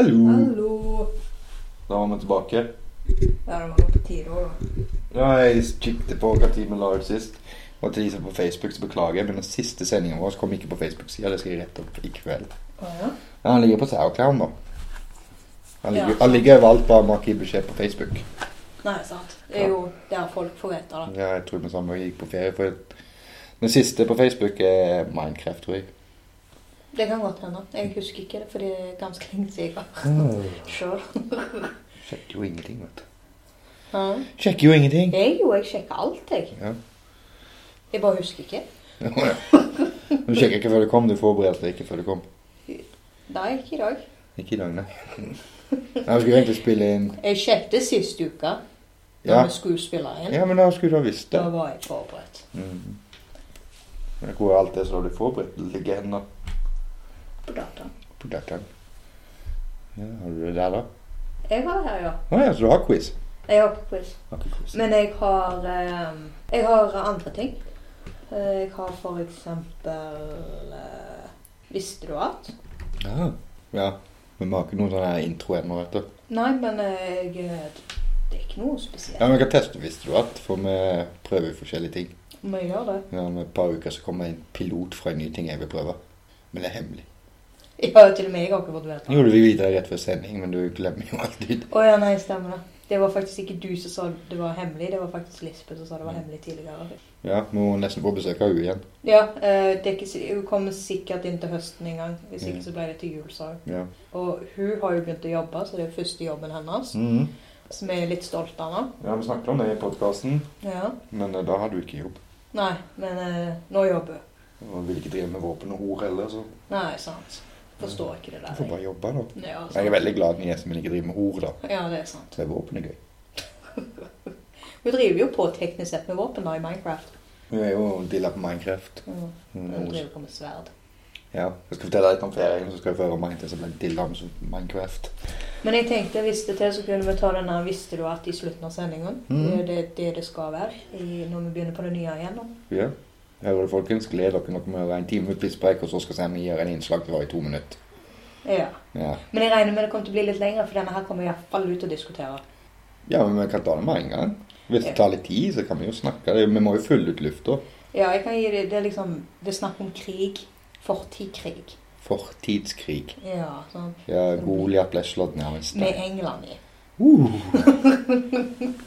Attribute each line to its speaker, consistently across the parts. Speaker 1: Hallo.
Speaker 2: Hallo!
Speaker 1: Da var vi tilbake.
Speaker 2: Ja, det var nok på tide år, da.
Speaker 1: Ja, jeg kikket på hva tid vi la ut sist. Og til de som er på Facebook, så beklager jeg, men den siste sendingen vår kom ikke på Facebook-sida. Det skal jeg rette opp i kveld.
Speaker 2: Å ja?
Speaker 1: Men han ligger på Sauerclown, da. Han ligger,
Speaker 2: Ja.
Speaker 1: han ligger overalt, bare man ikke gir beskjed på Facebook.
Speaker 2: Nei, sant. Det er jo der folk får vite det.
Speaker 1: Ja, jeg tror vi sammen gikk på ferie. For den siste på Facebook er Minecraft, tror jeg.
Speaker 2: Det kan godt hende. Jeg husker ikke det, for det er ganske lenge siden jeg var sjøl.
Speaker 1: Sjekker jo ingenting, vet du.
Speaker 2: Ja.
Speaker 1: Sjekker jo ingenting.
Speaker 2: Jeg jo, jeg sjekker alt, jeg.
Speaker 1: Ja.
Speaker 2: Jeg bare husker ikke.
Speaker 1: Du sjekker ikke før du kom. Du forberedte deg ikke før du kom.
Speaker 2: Nei, ikke i dag.
Speaker 1: Ikke i dag, nei. Jeg skulle egentlig spille inn
Speaker 2: Jeg sjekket sist uke, da
Speaker 1: Ja,
Speaker 2: vi skulle spille inn.
Speaker 1: ja men da skulle du ha visst det.
Speaker 2: Da var jeg forberedt.
Speaker 1: Mhm. Men Hvor er alt det som du forberedt ligger hen, da?
Speaker 2: På dataen.
Speaker 1: På dataen. Ja, har du det der, da?
Speaker 2: Jeg har her, ja.
Speaker 1: Å ja, så du har quiz?
Speaker 2: Jeg har ikke quiz.
Speaker 1: Har ikke quiz.
Speaker 2: Men jeg har eh, Jeg har andre ting. Eh, Jeg har for eksempel eh, Visste du at?
Speaker 1: Ja. ja. Men vi har ikke noen sånn her intro ennå, vet du.
Speaker 2: Nei, men eh, jeg Det er ikke noe spesielt.
Speaker 1: Ja, men jeg kan teste visste du at, for vi prøver jo forskjellige ting.
Speaker 2: Må jeg gjøre det?
Speaker 1: Ja, Om et par uker så kommer en pilot fra en ny ting jeg vil prøve. Men det er hemmelig.
Speaker 2: Ja, til og med jeg har ikke fått vite
Speaker 1: Jo, du vil vite det rett før sending, men du glemmer jo alltid.
Speaker 2: Å ja, nei, stemmer det. Det var faktisk ikke du som sa det var hemmelig, det var faktisk Lisbeth som sa
Speaker 1: Mm.
Speaker 2: det var hemmelig tidligere.
Speaker 1: Ja, vi må nesten få besøk av henne igjen.
Speaker 2: Ja, eh, det er ikke, si- hun kommer sikkert inn til høsten en gang. Hvis
Speaker 1: Mm.
Speaker 2: ikke så ble det til jul, sa hun.
Speaker 1: Ja.
Speaker 2: Og hun har jo begynt å jobbe, så det er første jobben hennes.
Speaker 1: Mhm.
Speaker 2: Som vi er litt stolte av nå.
Speaker 1: Ja, vi snakket om det i podkasten,
Speaker 2: Ja.
Speaker 1: men eh, da har du ikke jobb.
Speaker 2: Nei, men eh, nå jobber hun.
Speaker 1: Og vil ikke drive med våpen og hor heller, så
Speaker 2: Nei, sant. Forstår ikke det
Speaker 1: du får
Speaker 2: der.
Speaker 1: bare jobbe, da.
Speaker 2: Ja,
Speaker 1: Jeg er
Speaker 2: sant.
Speaker 1: veldig glad i gjesten min ikke driver med hor, da.
Speaker 2: ja, det er sant.
Speaker 1: Så er våpen er gøy.
Speaker 2: Hun driver jo på teknisk sett med våpen da i Minecraft.
Speaker 1: Hun er jo dilla på Minecraft.
Speaker 2: Mm.
Speaker 1: Hun
Speaker 2: Hun
Speaker 1: er også-
Speaker 2: driver på med sverd.
Speaker 1: Ja. Jeg skal fortelle deg litt om ferien, så skal jeg få høre om en til som ble dilla om som Minecraft.
Speaker 2: Men jeg tenkte hvis det til, så kunne vi ta den her 'Visste du at?' i slutten av sendingen.
Speaker 1: Mm.
Speaker 2: Det er det, det det skal være i, når vi begynner på det nye igjen. nå.
Speaker 1: Ja. Hører du, folkens? Gled dere nok med å høre en time med pisspreik, og så skal Sammy gjøre en innslag til hver i to minutter.
Speaker 2: Ja.
Speaker 1: Ja.
Speaker 2: Men jeg regner med det kommer til å bli litt lengre, for denne her kommer jeg iallfall ut og diskutere.
Speaker 1: ja, men vi kan ta det med en gang. Hvis det
Speaker 2: Ja.
Speaker 1: tar litt tid, så kan vi jo snakke. Det- Vi må jo fylle ut lufta.
Speaker 2: Ja, jeg kan gi det, det er liksom Det er snakk om krig. Fortidkrig.
Speaker 1: Fortidskrig.
Speaker 2: Ja, sånn.
Speaker 1: Ja, Goliat ble slått ned av en stein.
Speaker 2: Med England i.
Speaker 1: Uh.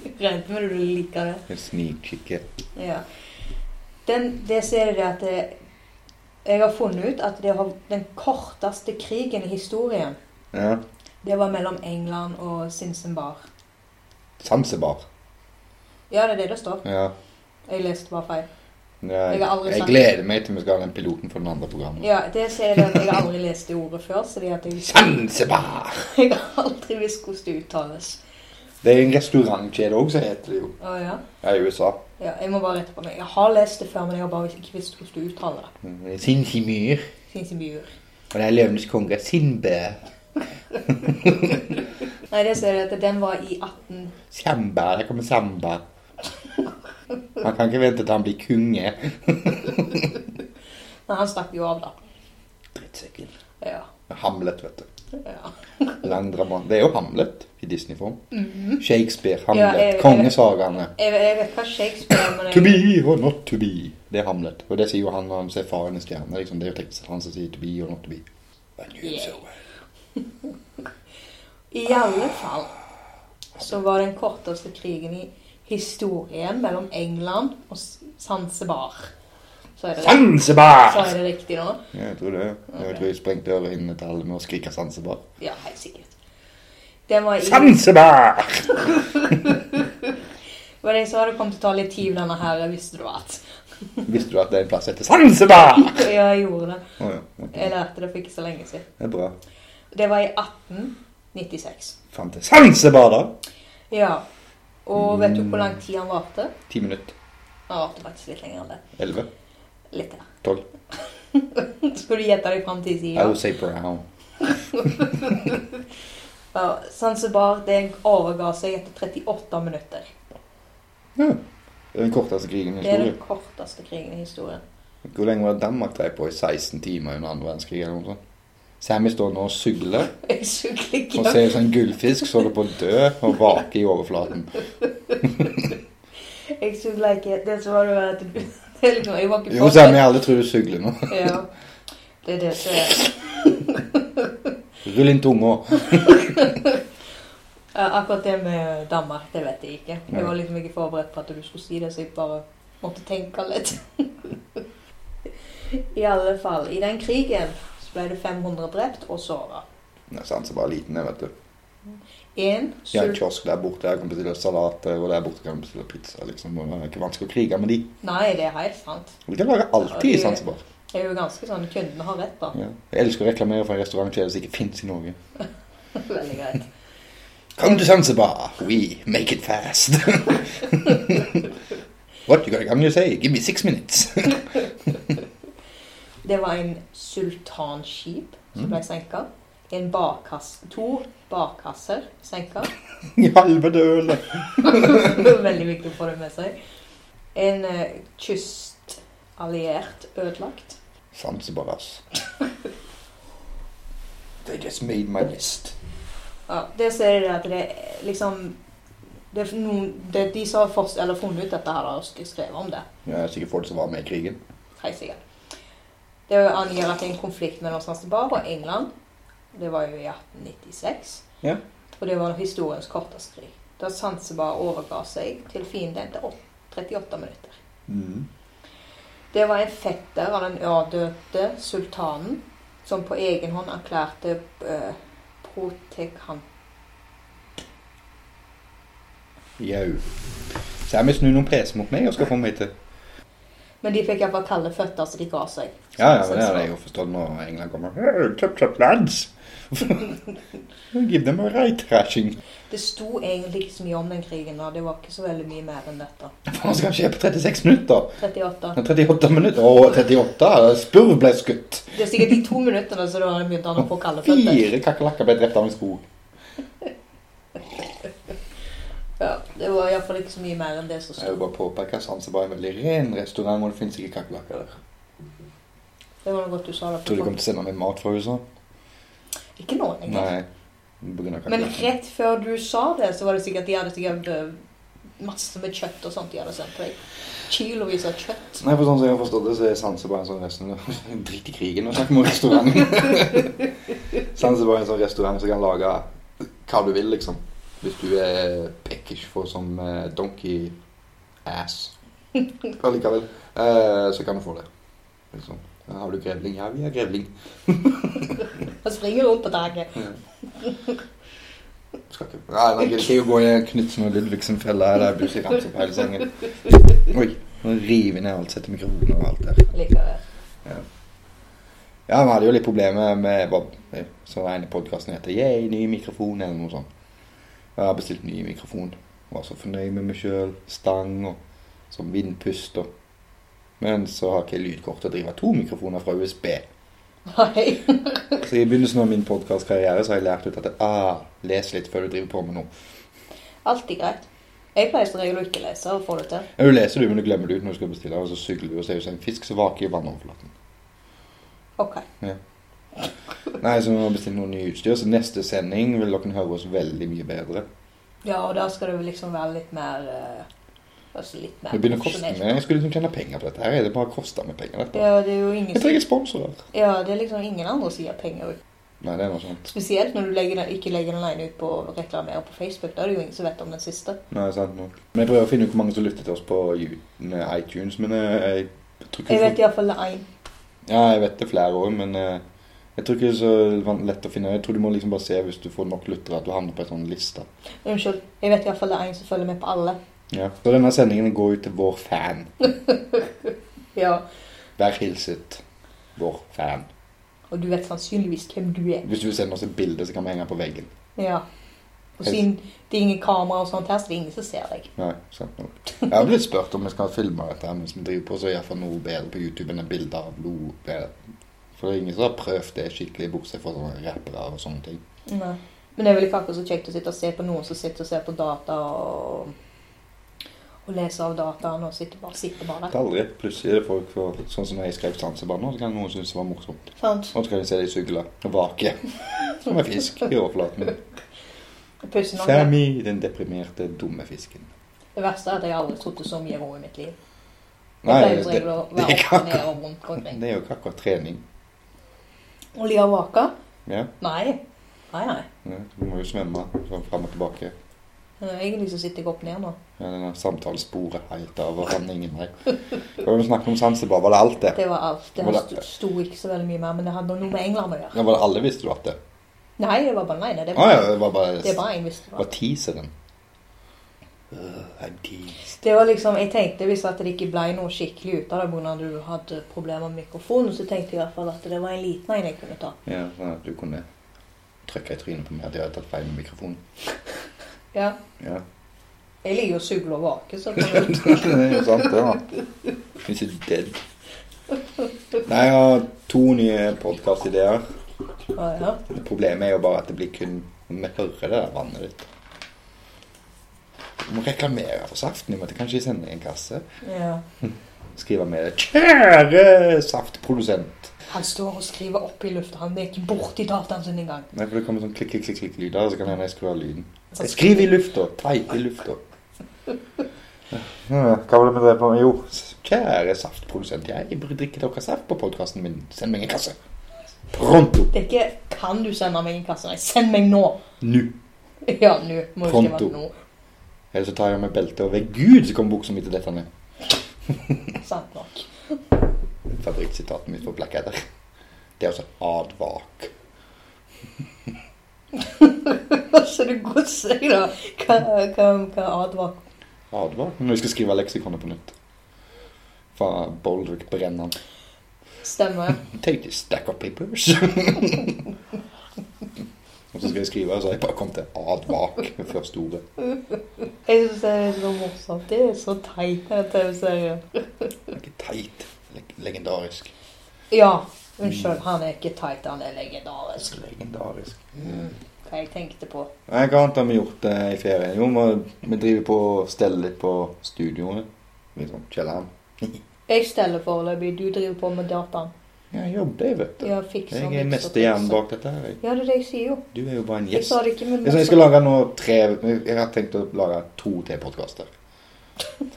Speaker 2: Regner med du liker det.
Speaker 1: En snikkikke.
Speaker 2: Ja. Den, det som er det at det, jeg har funnet ut at det har, den korteste krigen i historien,
Speaker 1: Ja.
Speaker 2: det var mellom England og Sinsenbar.
Speaker 1: Sansebar.
Speaker 2: Ja, det er det det står.
Speaker 1: Ja.
Speaker 2: Jeg leste bare feil.
Speaker 1: ja jeg,
Speaker 2: Jeg har aldri
Speaker 1: jeg
Speaker 2: sagt-
Speaker 1: gleder meg til vi skal ha den piloten for den andre programmet.
Speaker 2: Ja, det sier det at jeg har aldri lest det ordet før, så det at jeg,
Speaker 1: Sansebar!
Speaker 2: jeg har aldri visst hvordan det uttales.
Speaker 1: Det er en restaurantkjede òg, som heter det jo.
Speaker 2: Å ja.
Speaker 1: Ja, i USA.
Speaker 2: ja. Jeg må bare rette på meg. Jeg har lest det før, men jeg har bare ikke visst hvordan du uttaler det.
Speaker 1: Mm, Sinsimyr.
Speaker 2: Sinsenbjur.
Speaker 1: Og det er løvenes konge, Sinbe.
Speaker 2: Nei, det sier det at den var i 18...
Speaker 1: Samba. Der kommer Samba. Han kan ikke vente til han blir konge.
Speaker 2: Nei, han stakk jo av da.
Speaker 1: Drittsekken.
Speaker 2: Ja.
Speaker 1: Hamlet, vet du.
Speaker 2: Ja.
Speaker 1: Lang dramat. Det er jo Hamlet i Disney-form. Shakespeare,
Speaker 2: Mhm. Ja, jeg-
Speaker 1: Hamlet,
Speaker 2: jeg-
Speaker 1: kongesagaene.
Speaker 2: Jeg, jeg vet hva Shakespeare er, men
Speaker 1: To
Speaker 2: jeg,
Speaker 1: be or not to be. Det er Hamlet. Og det sier jo han når han ser faren i stjernen. Liksom. Det er jo teknisk sett han som sier to be or not to be. I knew it so well.
Speaker 2: i alle fall så var den korteste krigen i historien mellom England og S- Zanzibar. Så er det, så
Speaker 1: Zanzibar!
Speaker 2: er det riktig nå.
Speaker 1: Ja, jeg tror det. Jeg tror jeg sprengte ørehinnene til alle med å skrike Zanzibar.
Speaker 2: Ja, helt sikkert. Den var i...
Speaker 1: Zanzibar!
Speaker 2: Var det jeg sa det kom til å ta litt tid denne her, visste du at?
Speaker 1: Visste du at det er en plass som heter Zanzibar?
Speaker 2: Ja, jeg gjorde det.
Speaker 1: Å ja. ok.
Speaker 2: Jeg lærte det for ikke så lenge siden.
Speaker 1: Det er bra.
Speaker 2: Det var i 1896.
Speaker 1: Fant til Zanzibar, da.
Speaker 2: Ja. Og vet du hvor lang tid han varte?
Speaker 1: Ti minutter.
Speaker 2: Han varte faktisk litt lenger enn det.
Speaker 1: Elleve.
Speaker 2: Litt til.
Speaker 1: Tolv.
Speaker 2: Skal du gjette deg fram til
Speaker 1: I
Speaker 2: sida?
Speaker 1: will say brown.
Speaker 2: Ja, Zanzibar det overga seg etter 38 minutter.
Speaker 1: Ja. Det er den korteste krigen i
Speaker 2: Det er den
Speaker 1: historien.
Speaker 2: korteste krigen i historien.
Speaker 1: Hvor lenge var Danmark drevet på i 16 timer under andre verdenskrig? eller noe sånt? Sammy står nå og sugler
Speaker 2: Jeg sugler ikke.
Speaker 1: og ser ut som en sånn gullfisk som holder på å dø og vaker i overflaten.
Speaker 2: Jeg sugler ikke. Det som var det var at du Jeg var ikke
Speaker 1: Jo, Sammy, alle tror du sugler nå.
Speaker 2: Ja. Det er det som er
Speaker 1: Rull inn tunga.
Speaker 2: Ja, Akkurat det med Danmark, det vet jeg ikke. Jeg var liksom ikke forberedt på at du skulle si det, så jeg bare måtte tenke litt. I alle fall, i den krigen så ble det 500 drept og såra.
Speaker 1: Nei, sant, så bare liten, jeg, vet du.
Speaker 2: Én
Speaker 1: De har en
Speaker 2: sult...
Speaker 1: kiosk der borte, der kan du bestille salater, eh, og der borte kan du bestille pizza, liksom. Og det er ikke vanskelig å krige med de.
Speaker 2: Nei, det er helt sant.
Speaker 1: Og Det kan være alltid i Zanzibar.
Speaker 2: Jeg er jo ganske sånn Kundene har rett, da.
Speaker 1: Ja. Jeg elsker å reklamere for en restaurantkjede som ikke fins i Norge.
Speaker 2: Veldig greit.
Speaker 1: Come to Zanzibar, we make it fast. What you gonna come to say? Give me six minutes.
Speaker 2: Det var en sultanskip som ble senka. En bakkasse To bakkasser senka.
Speaker 1: I halve døle.
Speaker 2: Veldig viktig å få det med seg. En eh, kystalliert ødelagt.
Speaker 1: Zanzibar, ass. They just made my list.
Speaker 2: Ja, det ser jeg at det er liksom det er noen, det er De som har forst, eller funnet ut dette, her, har sk- skrevet om det.
Speaker 1: Ja, sikkert folk som var med i krigen.
Speaker 2: Helt sikkert. Det angir at det er en konflikt mellom Zanzibar og England. Det var jo i 1896.
Speaker 1: Ja.
Speaker 2: Og det var historiens korteste krig. Da Zanzibar overga seg til fienden etter åt- 38 minutter. Det var en fetter av den avdøde sultanen som på egen hånd erklærte eh, protekant...
Speaker 1: Jau. Sammy snur noen preser mot meg og skal få meg til.
Speaker 2: Men de fikk iallfall kalde føtter, så de ga seg.
Speaker 1: Ja, ja, men det hadde jeg jo forstått når England kommer. Hey, tap, tap, lads. Give them a right thrashing.
Speaker 2: Det sto egentlig ikke så mye om den krigen. da. Det var ikke så veldig mye mer enn dette.
Speaker 1: Hva skal skje på 36 minutter?
Speaker 2: 38.
Speaker 1: 38 minutter? Å, 38? Spurv ble skutt.
Speaker 2: Det er sikkert de to minuttene så da begynte han å få kalde føtter.
Speaker 1: Fire kakerlakker ble drept av en skog.
Speaker 2: Ja, det var iallfall ikke så mye mer enn det som
Speaker 1: Jeg
Speaker 2: sto.
Speaker 1: vil bare påpeke at Zanzibar er en veldig ren restaurant, og det finnes ikke kakerlakker der.
Speaker 2: Det var noe godt du sa. det.
Speaker 1: Tror du de kommer til å sende meg mat fra USA?
Speaker 2: Ikke nå lenger.
Speaker 1: Nei. På grunn av
Speaker 2: Men
Speaker 1: kakerlakker.
Speaker 2: rett før du sa det, så var det sikkert de hadde sikkert eh, masse med kjøtt og sånt de hadde sendt deg. Kilovis av kjøtt.
Speaker 1: Nei, for sånn som jeg har forstått det, så er Zanzibar en sånn restaurant Drit i krigen og snakk om restauranten. Zanzibar er en sånn restaurant som kan lage hva du vil, liksom. Hvis du er peckish for som eh, donkey ass. Ja, Likevel. Eh, så kan du få det. Liksom. Ja, Har du grevling? Ja, vi har grevling.
Speaker 2: Han springer rundt på taket.
Speaker 1: Mm. Skal ikke Nei, nå gidder ikke jeg å gå i Knutsen og Ludvigsen-fella her. Der Bussi ramser opp hele sengen. Oi. Nå river jeg ned alt, setter mikrofoner og alt der.
Speaker 2: Likevel.
Speaker 1: Ja, vi hadde jo litt problemer med Bob, som den ene podkasten heter 'Yay, ny mikrofon', eller noe sånt. Jeg har bestilt ny mikrofon. Var så fornøyd med meg sjøl. Stang og sånn vindpust og Men så har ikke jeg lydkort til å drive to mikrofoner fra USB.
Speaker 2: Nei.
Speaker 1: Så i begynnelsen av min podkastkarriere har jeg lært ut at ah, les litt før du driver på med noe.
Speaker 2: Alltid greit. Jeg pleier som regel å ikke lese og få det til.
Speaker 1: Ja, du leser, du, men du glemmer det ut når du skal bestille, og så sugler du og ser ut som en fisk som vaker i vannoverflaten.
Speaker 2: Ok.
Speaker 1: Nei, så vi må bestille noe nytt utstyr, så neste sending vil dere høre oss veldig mye bedre.
Speaker 2: Ja, og da skal det vel liksom være litt mer eh, Altså litt mer
Speaker 1: Det begynner å koste meg.
Speaker 2: profesjonelt.
Speaker 1: Jeg skulle liksom tjene penger på dette. her. Er det bare kosta meg penger? dette?
Speaker 2: Ja, det er jo ingen
Speaker 1: Jeg trenger sponsorer.
Speaker 2: Ja, det er liksom ingen andre som gir penger ut.
Speaker 1: Nei, det er noe sånt.
Speaker 2: Spesielt når du legger den, ikke legger den ene ut på å reklamere på Facebook. Da er det jo ingen som vet om den siste.
Speaker 1: Nei, sant nok. Men jeg prøver å finne ut hvor mange som lytter til oss på You- nei, iTunes. Men eh, jeg tror ikke
Speaker 2: Jeg vet iallfall én.
Speaker 1: Ja, jeg vet det flere år, men eh, jeg tror ikke det er så van- lett å finne Jeg tror du må liksom bare se hvis du får nok lyttere at du havner på en sånn liste.
Speaker 2: Unnskyld. Jeg vet iallfall én som følger med på alle.
Speaker 1: Ja. Så denne sendingen går ut til vår fan.
Speaker 2: Ja.
Speaker 1: Vær hilset vår fan.
Speaker 2: Og du vet sannsynligvis hvem du er.
Speaker 1: Hvis du vil sende oss et bilde, så kan vi henge på veggen.
Speaker 2: Ja. Og siden det er ingen kamera og sånt her, så det er ingen som ser deg.
Speaker 1: Nei, sant nok. Jeg har blitt spurt om vi skal filme dette her mens vi driver på, så er iallfall noe bedre på YouTube enn et bilde av blod. For det er ingen som har prøvd det skikkelig, bortsett fra sånne rappere og sånne ting.
Speaker 2: Nei. Men det er vel ikke akkurat så kjekt å sitte og se på noen som sitter og ser på data og, og og leser av dataen og sitter bare, sitter bare
Speaker 1: Det er aldri et pluss i det folk får sånn som når jeg skrev Sansebar nå, så kan noen synes det var morsomt.
Speaker 2: der. Sant?
Speaker 1: Og så kan de se deg sugle og vake som en fisk i overflaten.
Speaker 2: Pussen om det.
Speaker 1: Sammy, den deprimerte, dumme fisken.
Speaker 2: Det verste er at jeg aldri trodde så mye ro i mitt liv. Jeg
Speaker 1: Nei,
Speaker 2: pleier som
Speaker 1: det,
Speaker 2: regel å
Speaker 1: det er
Speaker 2: være opp og ned
Speaker 1: kaka.
Speaker 2: og rundt omkring.
Speaker 1: det er jo ikke akkurat trening.
Speaker 2: Og lia vaka?
Speaker 1: Ja,
Speaker 2: Nei. Nei, nei.
Speaker 1: ja, du må jo svømme sånn fram og tilbake.
Speaker 2: Egentlig så sitter jeg opp ned nå.
Speaker 1: Ja, denne samtalesporet helt av og han ingen vei. Hva var det vi snakket om Sansebar? Var det alt det?
Speaker 2: Det var alt. Det
Speaker 1: Var det-
Speaker 2: sto- sto ikke så veldig mye mer, men det hadde noe med England å gjøre.
Speaker 1: Ja, var det alle visste du at det?
Speaker 2: Nei, det var bare nei, nei. Det
Speaker 1: Å
Speaker 2: var,
Speaker 1: Ah, ja, det var bare
Speaker 2: det var en visste
Speaker 1: var
Speaker 2: det.
Speaker 1: teaseren. Øh, en teaser.
Speaker 2: Det var liksom, Jeg tenkte hvis at det ikke ble noe skikkelig ut av det pga. at du hadde problemer med mikrofonen, så tenkte jeg i hvert fall at det var en liten en jeg kunne ta.
Speaker 1: Ja, sånn at du kunne trykke i trynet på meg at jeg hadde tatt feil med mikrofonen.
Speaker 2: Ja.
Speaker 1: Ja.
Speaker 2: Jeg ligger jo og sugler og vaker, så det var-
Speaker 1: det er jo sant, det, da. Hvis ikke dead. Nei, jeg har to nye podkastideer.
Speaker 2: ja, ja.
Speaker 1: Problemet er jo bare at det blir kun Vi hører det der vannet ditt. Du må reklamere for saften. Du måtte kanskje sende en kasse.
Speaker 2: ja.
Speaker 1: Skrive med det. 'Kjære saftprodusent'.
Speaker 2: Han står og skriver opp i lufta. Han er ikke borti dataen sin engang.
Speaker 1: Nei, for det kommer sånn klikk, klikk, klikk, klikk lyder, og så kan jeg nesten skru av lyden. Skriv i lufta! Tight i lufta. Ja, Hva var det vi drev på med? Jo, kjære saftprodusent, jeg burde drikke dere saft på podkasten min. Send meg en kasse. Pronto!
Speaker 2: Det er ikke 'kan du sende meg en kasse'? Nei, send meg nå!
Speaker 1: Nu!
Speaker 2: Ja, nå. Må jo skrive
Speaker 1: Pronto.
Speaker 2: nå.
Speaker 1: Ellers så tar jeg av meg beltet, og ved gud så kommer buksa mi til dette ned.
Speaker 2: Sant nok.
Speaker 1: Fabrikksitatet mitt på plakater. Det er altså advak.
Speaker 2: Så du godser deg, da. Hva, hva, hva advarer
Speaker 1: Advak? Når jeg skal skrive leksikonet på nytt. Fra Boldwick Brennan.
Speaker 2: Stemmer.
Speaker 1: Take this stack of papers. og så skal jeg skrive, og så har jeg bare kommet til advak med første ordet.
Speaker 2: Jeg syns det er så morsomt. Det er så teit, den TV-serien.
Speaker 1: Det er Ikke teit. Leg legendarisk.
Speaker 2: Ja, unnskyld. Han er ikke teit, han er legendarisk.
Speaker 1: Legendarisk.
Speaker 2: Hva jeg tenkte på.
Speaker 1: Nei, hva annet har vi gjort eh, i ferien? Jo, vi, vi driver på og steller litt på studioene. Liksom kjelleren.
Speaker 2: Jeg steller foreløpig. Du driver på med dataen.
Speaker 1: Ja, jeg jobber, jeg, vet du.
Speaker 2: Ja, fikser
Speaker 1: Jeg er
Speaker 2: mikser,
Speaker 1: mesterhjernen
Speaker 2: fikser.
Speaker 1: bak dette her. jeg.
Speaker 2: Ja, det er det jeg sier, jo.
Speaker 1: Du er jo bare en
Speaker 2: Jeg
Speaker 1: gjest.
Speaker 2: sa det ikke, men
Speaker 1: Jeg, sa jeg skal lage nå tre Jeg har tenkt å lage to til podkaster.